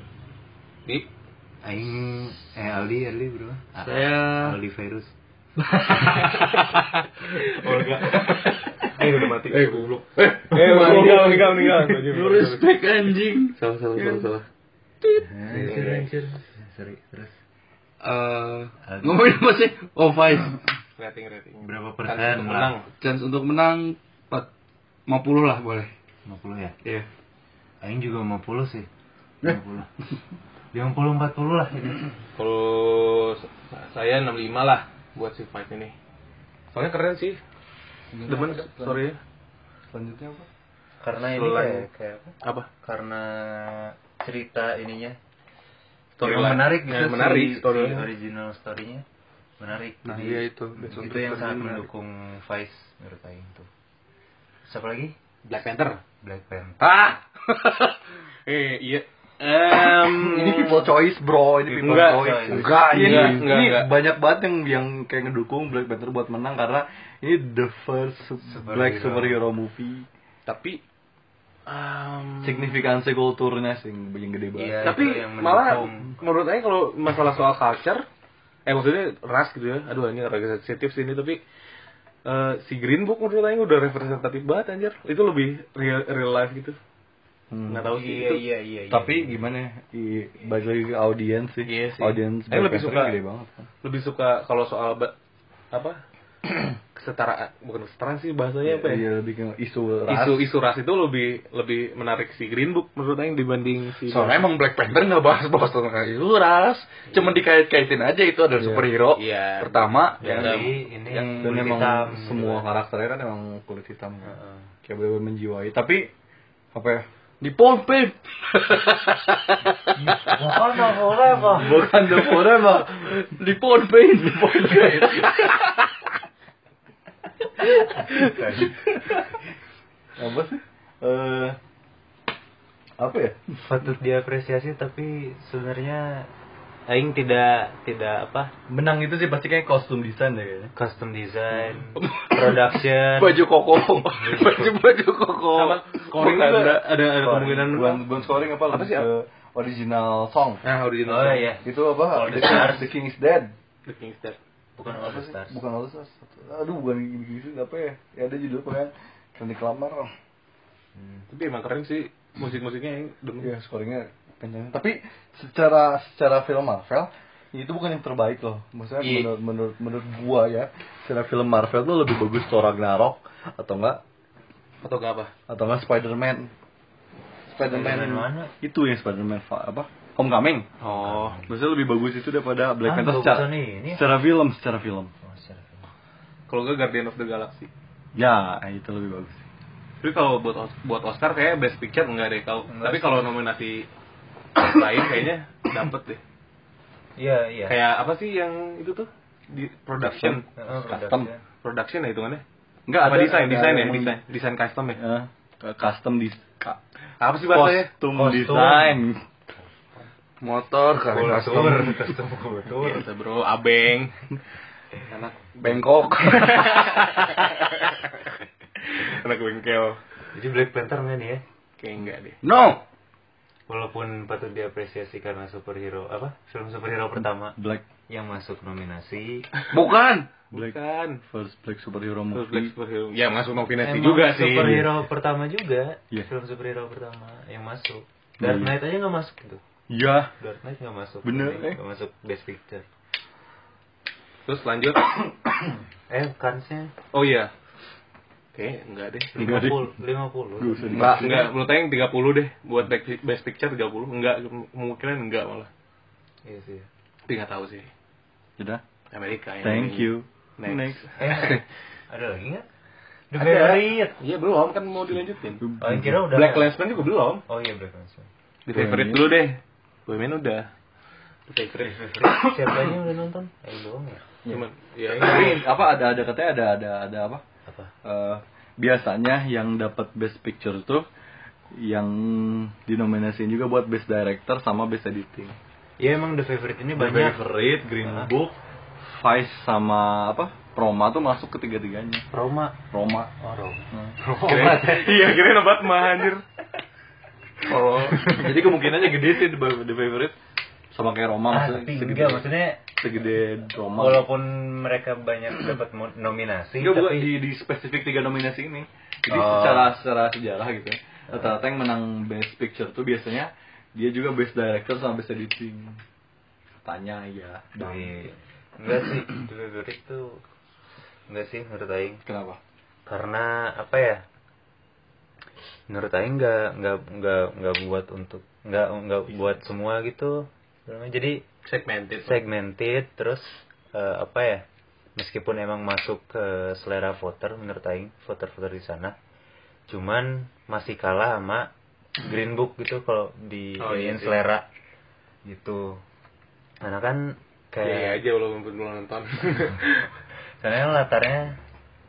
Di
Aing eh Aldi, Aldi bro.
saya
Aldi virus.
Olga. Eh udah mati. Eh goblok. Eh,
mati.
meninggal meninggal meninggal.
lu respect anjing
Salah salah salah salah.
Sorry, terus
Eh, ngomongin apa sih oh Vice
Rating rating. Kan
berapa persen?
menang.
lah?
chance untuk menang 4 50 lah boleh
50 ya.
iya
Aing juga 50 sih.
Eh.
50. 50 40 lah ini.
Kalau sa- saya 65 lah buat si fight ini. Soalnya keren sih. Demen sorry.
selanjutnya apa
Karena ini
Selain-
kayak, kayak apa?
Apa?
Karena cerita ininya
Storyline.
yang menarik gitu.
Yang Iya, menarik,
si- si
storyline.
original story-nya menarik.
Nah,
Jadi,
iya itu.
Itu yang sangat mendukung Vice menurut Aing tuh. Siapa lagi?
Black Panther.
Black Panther.
Ah. (laughs) eh iya. Em,
ini people choice bro ini
Hmm.
people
Enggak,
choice
enggak,
enggak,
ini, ini
enggak, enggak.
banyak banget yang yang kayak ngedukung Black Panther buat menang karena ini the first black
Superhero.
superhero movie
tapi em,
signifikansi kulturnya sih yang yang gede banget
Iya,
tapi
itu yang
malah
mendukung.
menurut saya kalau masalah soal culture eh maksudnya ras gitu ya aduh ini agak sensitif sih ini tapi eh, si Green Book menurut saya udah representatif banget anjir itu lebih real, real life gitu
Hmm.
nggak tahu sih
Iya,
itu.
iya, iya.
tapi gimana ya i- balik lagi ke audiens sih
Iya sih.
audiens
Saya lebih
Black Panther
suka-
gede banget kan.
lebih suka kalau soal ba- apa (clears throat) kesetaraan bukan kesetaraan sih bahasanya apa ya
iya lebih ke isu ras
isu isu ras itu lebih lebih menarik si Green Book menurut saya dibanding si
Soalnya emang Black Panther nggak bahas bahas tentang itu ras, cuman dikait-kaitin aja itu adalah
Iya.
superhero.
Iya.
Pertama,
Iya.
Yang di ini
yang dan
kulit
emang
hitam,
semua
gitu.
kan. karakternya kan emang kulit hitam kan kayak bener menjiwai tapi apa ya
Di Pompe.
Bukan The Forever.
Bukan The Forever. Di Pompe. Di Pompe.
Apa sih? Eh apa ya?
patut diapresiasi tapi sebenarnya aing tidak tidak apa
Menang itu sih pasti kayak kostum desain deh kayaknya.
custom design
(laughs)
production
Baju
Iya.
koko. Baju baju koko.
Sama scoring
Bukan,
juga ada
enggak.
ada, ada
Scoring.
kemungkinan bukan bukan scoring apa Eh,
Apa
lebih
sih,
ke Ah, original song.
Nah, original.
oh iya
Itu apa?
All
The,
the Stars.
The King is Dead.
The King's Dead.
bukan all
Apa
the
sih?
stars
Bukan All Stars. Aduh, bukan gini-gini sih apa ya? Ya ada judul pokoknya Cantik Lamar.
Tapi emang keren sih musik-musiknya yang demen.
Iya, scoringnya kencang. Tapi secara secara film Marvel itu bukan yang terbaik loh. Maksudnya
Iya.
menurut menurut menurut gua ya, secara film Marvel tuh lebih bagus Thor Ragnarok atau enggak
Atau nggak apa?
atau enggak Spider-Man. Spider-Man
Spider-Man mana?
Itu yang Spider-Man fa- apa? Homecoming.
Oh.
Maksudnya lebih bagus itu daripada Black
Ah,
Panther
bagus
secara,
nih, ini.
secara film, secara film.
Oh, secara film.
Kalau enggak Guardian of the Galaxy.
Ya, itu lebih bagus.
Tapi kalau buat Os- buat Oscar kayak Best Picture enggak deh kalau.
Enggak
Tapi
sih.
kalau nominasi (coughs) lain kayaknya dapet deh.
iya iya
Kayak apa sih yang itu tuh? Di production.
Heeh, iya.
custom.
production.
Production ya hitungannya.
Enggak
apa desain, desain ya,
yang-
desain, desain custom ya.
Eh, custom di ka-
Apa sih ya?
ya?
bahasanya?
kostum
Kostum.
desain.
Motor kali
Kultur.
Custom kultur.
Iya, Biasa bro,
(laughs)
abeng.
Anak
Bengkok. Anak bengkel.
jadi Black Panther men ya
Kayak enggak deh.
No.
walaupun patut diapresiasi karena superhero apa film superhero pertama
Black
yang masuk nominasi
Bukan.
Black
Bukan.
First Black Superhero
Terus
Movie.
Black Superhero. Ya masuk nominasi
Emang
juga sih.
superhero pertama juga
Iya.
film superhero pertama yang masuk Dark
Iya.
Knight aja nggak masuk gitu
Ya,
Dark Knight nggak masuk
Bener,
Ini
eh.
nggak masuk Best Picture
Terus lanjut. (coughs)
eh kansnya
Oh iya. Oke, enggak deh.
Enggak, Dik.
50 50
Gak usah
Enggak, enggak. Menurut saya yang 30 deh buat Black- Best Picture 30. Enggak, kemungkinan enggak malah.
iya (laughs) sih
Tapi enggak tahu sih.
Sudah.
Amerika yang
Thank
ini.
you.
Next.
eh ada lagi nggak The
Ada.
Favorite
Iya belum kan mau dilanjutin.
oh yang kira udah
Black Lensman juga belum.
oh iya Black Landsman
Di
Bohemian.
favorite dulu deh. Bohemian udah. Di favorite.
siapa aja yang udah nonton eh doang ya
Cuman ya
Tapi apa ada ada katanya ada ada ada apa?
apa
Eh, biasanya yang dapat Best Picture tuh yang dinominasiin juga buat Best Director sama Best Editing.
ya emang The Favorite ini
The
banyak
Favorite, Green
Ah.
Book, Vice sama apa? Roma tuh masuk ketiga-tiganya. Nah.
Roma
Roma.
oh Roma
iya kira obat mah anjir.
Oh, (laughs) jadi kemungkinannya gede sih the, the favorite sama kayak Roma
ah,
maksudnya
tapi
segede,
enggak maksudnya
segede Roma.
walaupun mereka banyak dapat mo- nominasi
Enggak bukan
tapi
di, di spesifik tiga nominasi ini. Jadi
Oh.
secara secara sejarah gitu.
Ah.
ya, Rata-rata yang menang Best Picture tuh biasanya dia juga Best Director sama Best Editing. Tanya ya.
Di- enggak sih The Favorite tuh enggak sih menurut Aing
Kenapa?
karena apa ya menurut Aing nggak nggak nggak nggak buat untuk nggak nggak buat semua gitu jadi
Segmented.
segmented terus eh, apa ya meskipun emang masuk ke selera voter menurut Aing voter-voter di sana cuman masih kalah sama Green Book gitu kalau di
Oh, iya
iniin
sih.
selera gitu karena kan kayak
Iya aja walaupun belum
(laughs)
nonton.
Soalnya latarnya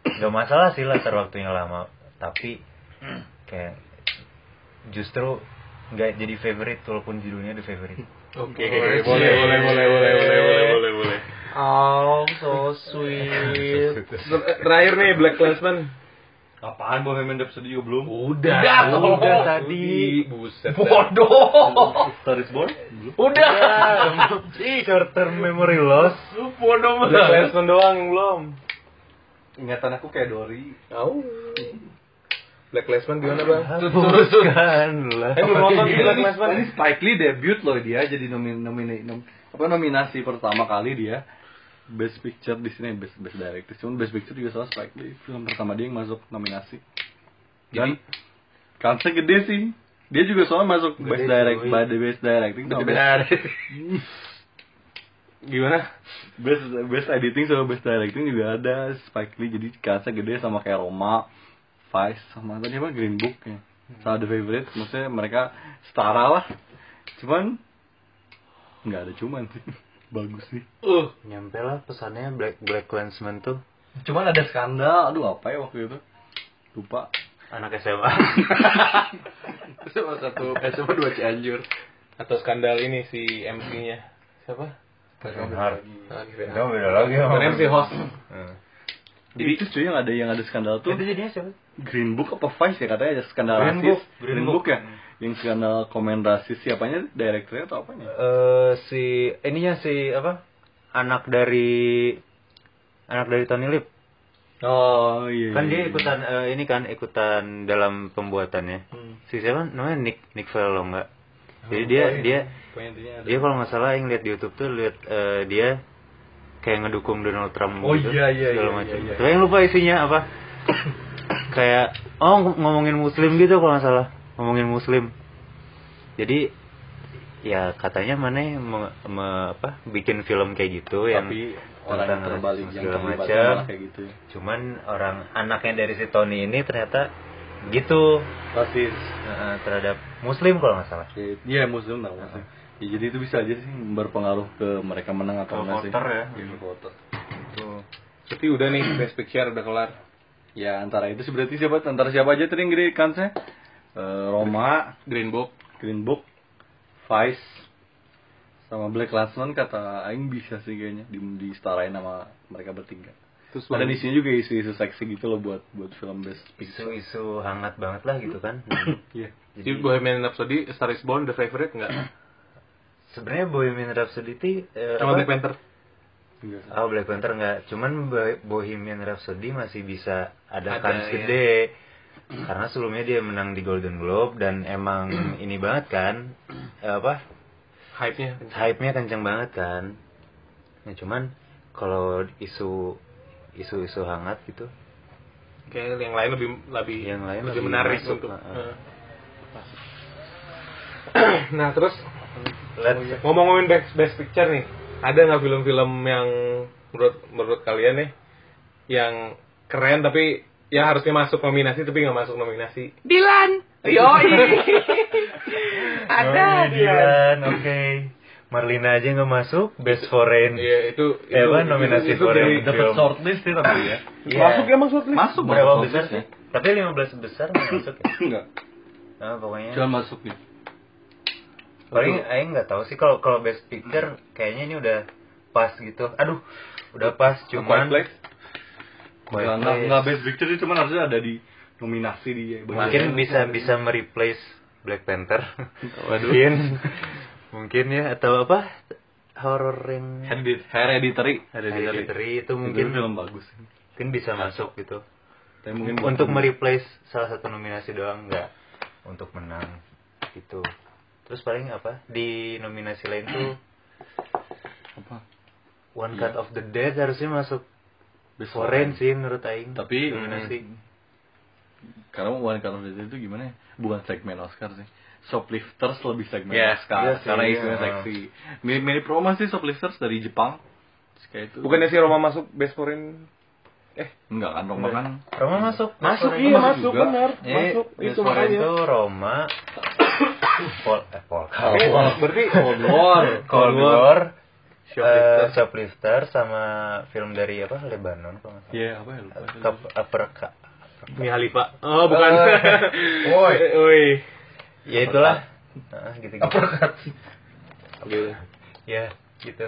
gak masalah sih latar waktunya lama, tapi kayak justru nggak jadi favorite walaupun judulnya the favorite.
Oke, boleh, boleh, boleh, boleh, boleh, boleh, boleh,
(laughs)
boleh.
Oh, so sweet.
Ter- Terakhir nih Black Lensman.
(laughs) Apaan Bohemian Rhapsody juga belum?
Udah,
udah
tolong.
tadi.
Buset.
Bodoh.
Star is Born?
Udah. Short term memory loss.
Bodoh banget. Black Lensman doang yang belum.
Ingatan aku kayak Dory.
Tahu. Black Lensman gimana, Bang?
Hapuskanlah.
Eh, belum nonton
Iya.
Ini,
Black
ini,
Lensman.
ini Spike Lee debut loh dia jadi nomin, nomina- nom- apa nominasi pertama kali dia Best Picture di sini Best Best Director. Cuman Best Picture juga salah Spike Lee film pertama dia yang masuk nominasi. Dan kansnya gede sih. Dia juga soalnya masuk Best Direct
cuy.
by the Best Directing Nah, sama Best,
Gimana?
Best Best Editing sama Best Directing juga ada Spike Lee jadi kansnya gede sama kayak Roma, Vice sama tadi apa Green Book ya. sama The Favorite maksudnya mereka setara lah cuman nggak ada cuman (laughs) sih bagus sih
nyampe lah pesannya Black Black Klansman tuh
cuman ada skandal aduh apa ya waktu itu lupa
anak SMA
SMA satu, SMA dua Cianjur.
Atau skandal ini si MC-nya. Siapa?
itu beda lagi sama
Bukan MC host.
jadi Eh. itu cuy yang ada yang ada skandal tuh
jadinya siapa
Green Book apa Vice ya katanya ada skandal
Green
rasis
Book, Green Book.
ya yang skandal komen rasis siapanya direkturnya atau apanya
Eh, si ininya si apa anak dari anak dari Tony Lip
oh iya
kan dia ikutan eh, ini kan ikutan dalam pembuatannya
Hmm.
si siapa namanya Nick Nick Fellow nggak jadi dia dia dia Iya, kalau nggak salah yang lihat di YouTube tuh lihat eh, dia kayak ngedukung Donald Trump
Oh,
gitu
iya, iya,
segala
iya,
macam
iya, iya.
Tapi yang lupa isinya apa kayak oh ng- ngomongin Muslim gitu kalau nggak salah ngomongin Muslim jadi ya katanya mana yang me- me- apa bikin film kayak gitu yang
tapi orang yang
tentang
terbalik yang
segala
terlibat
macam.
malah kayak gitu
cuman orang anaknya dari si Tony ini ternyata gitu
rasis
eh, terhadap Muslim kalau nggak salah
Nah, iya muslim tau nggak sih ya, jadi itu bisa aja sih berpengaruh ke mereka menang atau enggak sih
voter ya.
Iya, ke voter.
Tapi udah nih best picture udah kelar.
ya antara itu sih berarti siapa antara siapa aja tadi yang gede kansnya Eh, Roma
Green Book.
Green Book Vice sama Black Klansman kata Aing bisa sih kayaknya di, disetarain sama mereka bertiga
Terus
ada di sini juga isu-isu seksi gitu loh buat buat film best picture
isu-isu hangat banget lah gitu kan
(clears throat) Iya.
Jadi Bohemian Rhapsody, A Star is Born, The Favorite enggak?
sebenarnya Bohemian Rhapsody itu eh,
Sama
apa?
Black Panther.
Oh Black Panther enggak, cuman Bo- Bohemian Rhapsody masih bisa
Ada,
ada, kans
ya.
gede. Karena sebelumnya dia menang di Golden Globe
(clears throat)
dan emang ini banget kan eh, apa?
Hype-nya.
Hype-nya kenceng banget kan. Nah, cuman kalau isu isu-isu hangat gitu
Kayak yang lain lebih lebih
Yang lain
lebih,
lebih
menarik
masuk,
untuk.
heeh.
Heeh. nah, terus Oh, iya.
Let's-
ngomong-ngomongin best, best picture nih, ada nggak film-film yang menurut menurut kalian nih yang keren tapi ya harusnya masuk nominasi tapi nggak masuk nominasi? Oh, iya.
ada oke. Marlina aja nggak masuk Best Foreign.
Iya, itu
Eh, apa, nominasi Korea
dari-
Dapat film.
shortlist sih tapi ya
Iya.
Masuk ya masuk
masuk
Berapa besar sih? Tapi 15 besar nggak masuk ya?
enggak
Nah, pokoknya
jangan masuk nih
paling aing nggak tahu sih kalau kalau best picture kayaknya ini udah pas gitu aduh udah pas cuman
Quiet Place.
Quiet
Enggak,
Place.
enggak best picture sih, cuman harusnya ada di nominasi di
mungkin bisa bisa mereplace Black (laughs) Panther (laughs) mungkin mungkin ya atau apa horor yang
Heredit- Hereditary
ada di Hereditary itu mungkin
mungkin film bagus sih.
mungkin bisa masuk gitu
Tapi mungkin
untuk mereplace salah satu nominasi doang nggak untuk menang gitu terus paling apa di nominasi lain tuh
apa?
One Cut of the Dead harusnya masuk
Best
Foreign sih menurut Aing
Tapi-
nominasi
Karena One Cut of the Dead itu gimana ya? Bukan segmen Oscar sih. Shoplifters lebih segmen
Iya,
Oscar
iya sih,
karena
iya.
isunya seksi. Mirip-mirip Roma sih Shoplifters dari Jepang. Terus Kayak itu.
Bukannya si Roma masuk best foreign?
enggak kan Roma kan.
Roma masuk
Masuk,
Foreign.
iya
masuk
masuk,
juga.
benar.
Eh,
Masuk, itu
Foreign
makanya.
tuh Roma (coughs) Pol eh Polka
Eh, berarti Cold War.
Cold War
Shoplifter.
eh, Shoplifter sama film dari apa Lebanon kalau nggak salah
Iya, apa ya lupa.
Cup Upper Cup.
Mia Khalifa. Oh, bukan.
Eh,
(laughs)
Woi.
Woi.
ya itulah Nah, gitu gitu
Oke.
ya gitu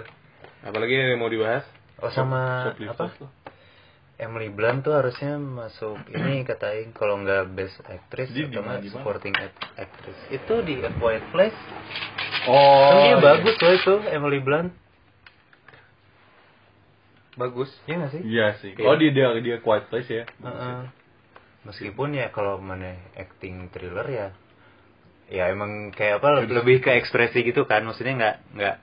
Apalagi yang mau dibahas?
oh sama
Shoplifters
apa
tuh.
Emily Blunt tuh harusnya (clears throat) masuk ini kata Aing kalau nggak best actress
Di- di
atau
mana,
nggak
di mana?
supporting act- actress itu di A Quiet Place
Oh.
Kan dia
iya.
bagus loh itu Emily Blunt bagus ya nggak sih
Iya sih. Oh, dia dia dia Quiet Place ya.
Heeh. meskipun ya kalau mana acting thriller ya ya emang kayak apa lebih ke ekspresi gitu kan maksudnya nggak nggak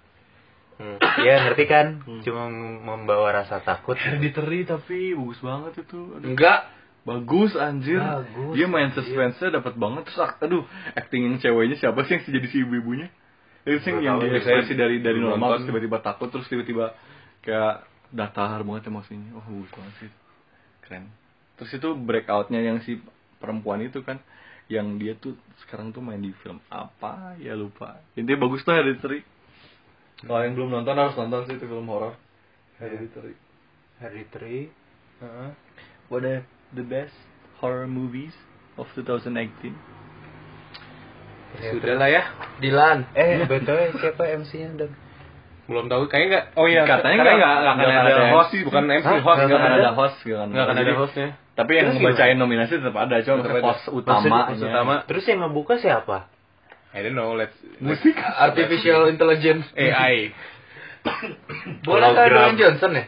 (clears throat) ya ngerti kan cuma membawa rasa takut
Hereditary tapi bagus banget itu. Aduh.
Enggak.
Bagus anjir.
Bagus,
dia main suspense-nya dapat banget. Terus ak- aduh, acting yang ceweknya siapa sih yang jadi si ibu-ibunya? Itu sih yang
tahu,
dia ekspresi dari dari normal terus tiba-tiba takut terus tiba-tiba kayak datar banget emosinya. Wah, bagus banget sih. Keren. Terus itu breakout-nya yang si perempuan itu kan yang dia tuh sekarang tuh main di film apa ya lupa intinya bagus lah Hereditary kalau yang belum nonton harus nonton sih itu film horor Hereditary
Hereditary
Heeh. what are the best horror movies of 2018
Ya, sudah lah ya Dilan
Eh, betul siapa MC-nya dong?
belum tahu kayaknya nggak
oh iya katanya nggak
nggak nggak akan ada host bukan MC host
nggak
nggak
akan
akan
ada host nggak akan
nggak akan ada
Jadi,
hostnya
tapi yang
Terus
ngebacain nominasi tetap ada cuma
Tetap ada.
host
Maksudnya,
utama
host utama
Terus yang ngebuka siapa?
I don't know let's
musik
Artificial intelligence.
AI
Boleh kan
Hologram.
Dwayne Johnson ya?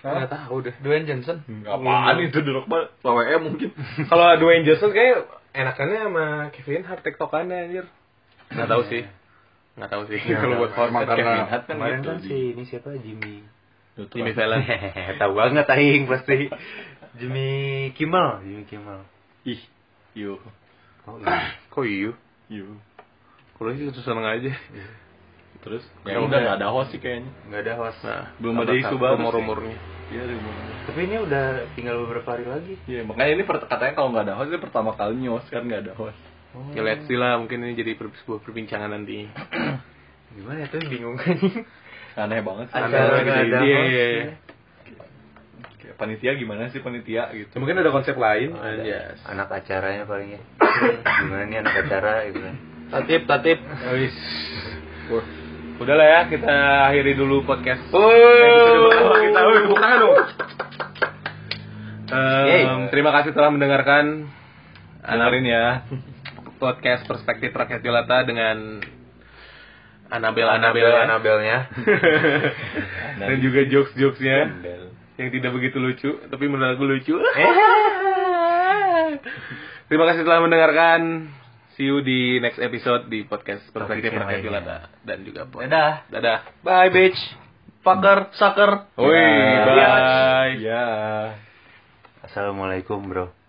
Nggak tahu deh. Dwayne Johnson.
apaan itu dorok banget
Lawe mungkin.
(laughs) kalau Dwayne Johnson kayak enakannya sama Kevin Hart tektokannya anjir nggak tahu sih nggak tahu sih
Iya,
(laughs) kalau buat host
Hormat
Kevin
karena
Hart kan
Kemarin
gitu
kan si ini siapa Jimmy?
Jimmy Fallon
Hehehe, (laughs) Tahu banget aing pasti. Jimmy Kimmel, Jimmy Kimmel.
ih yo
Oh, iya.
kok iyo
yo
kalau sih itu seneng aja
terus
Ya
ya udah
udah.
nggak ada host sih kayaknya
nggak ada host.
nah
Belum
apa
ada isu
tahu,
baru sih.
rumor-rumornya
iya ada hubungannya.
Tapi ini udah tinggal beberapa hari lagi.
Iya, makanya ini per- katanya kalau nggak ada host ini pertama kalinya host kan nggak ada host.
ya lihat sih lah mungkin ini jadi per- sebuah perbincangan nanti
Gimana tuh bingung.
Aneh banget sih.
Ada-
Aneh
Acara
banget
nggak ada
sih. Iya,
host.
iya, iya. Kayak panitia gimana sih panitia gitu.
Ya, mungkin Oh, ada konsep lain
Ada.
Yes.
Anak acaranya palingnya. Gimana nih anak acara gitu.
tatip tatip Wis. udah lah ya kita akhiri dulu podcast kita tepuk tangan dong Em,
Yeay.
terima kasih telah mendengarkan
Dengerin ya.
podcast perspektif rakyat jelata dengan Anabel Anabel
Anabel Anabelnya.
dan juga jokes jokesnya yang tidak begitu lucu tapi menurut aku lucu terima kasih telah mendengarkan see you di next episode di podcast perspektif
Topik yang
rakyat
lainnya.
jelata dan juga podcast.
Dadah.
dadah
Bye bitch. Fucker, sucker.
Woi,
Ya.
bye.
Ya.
Assalamualaikum, Bro.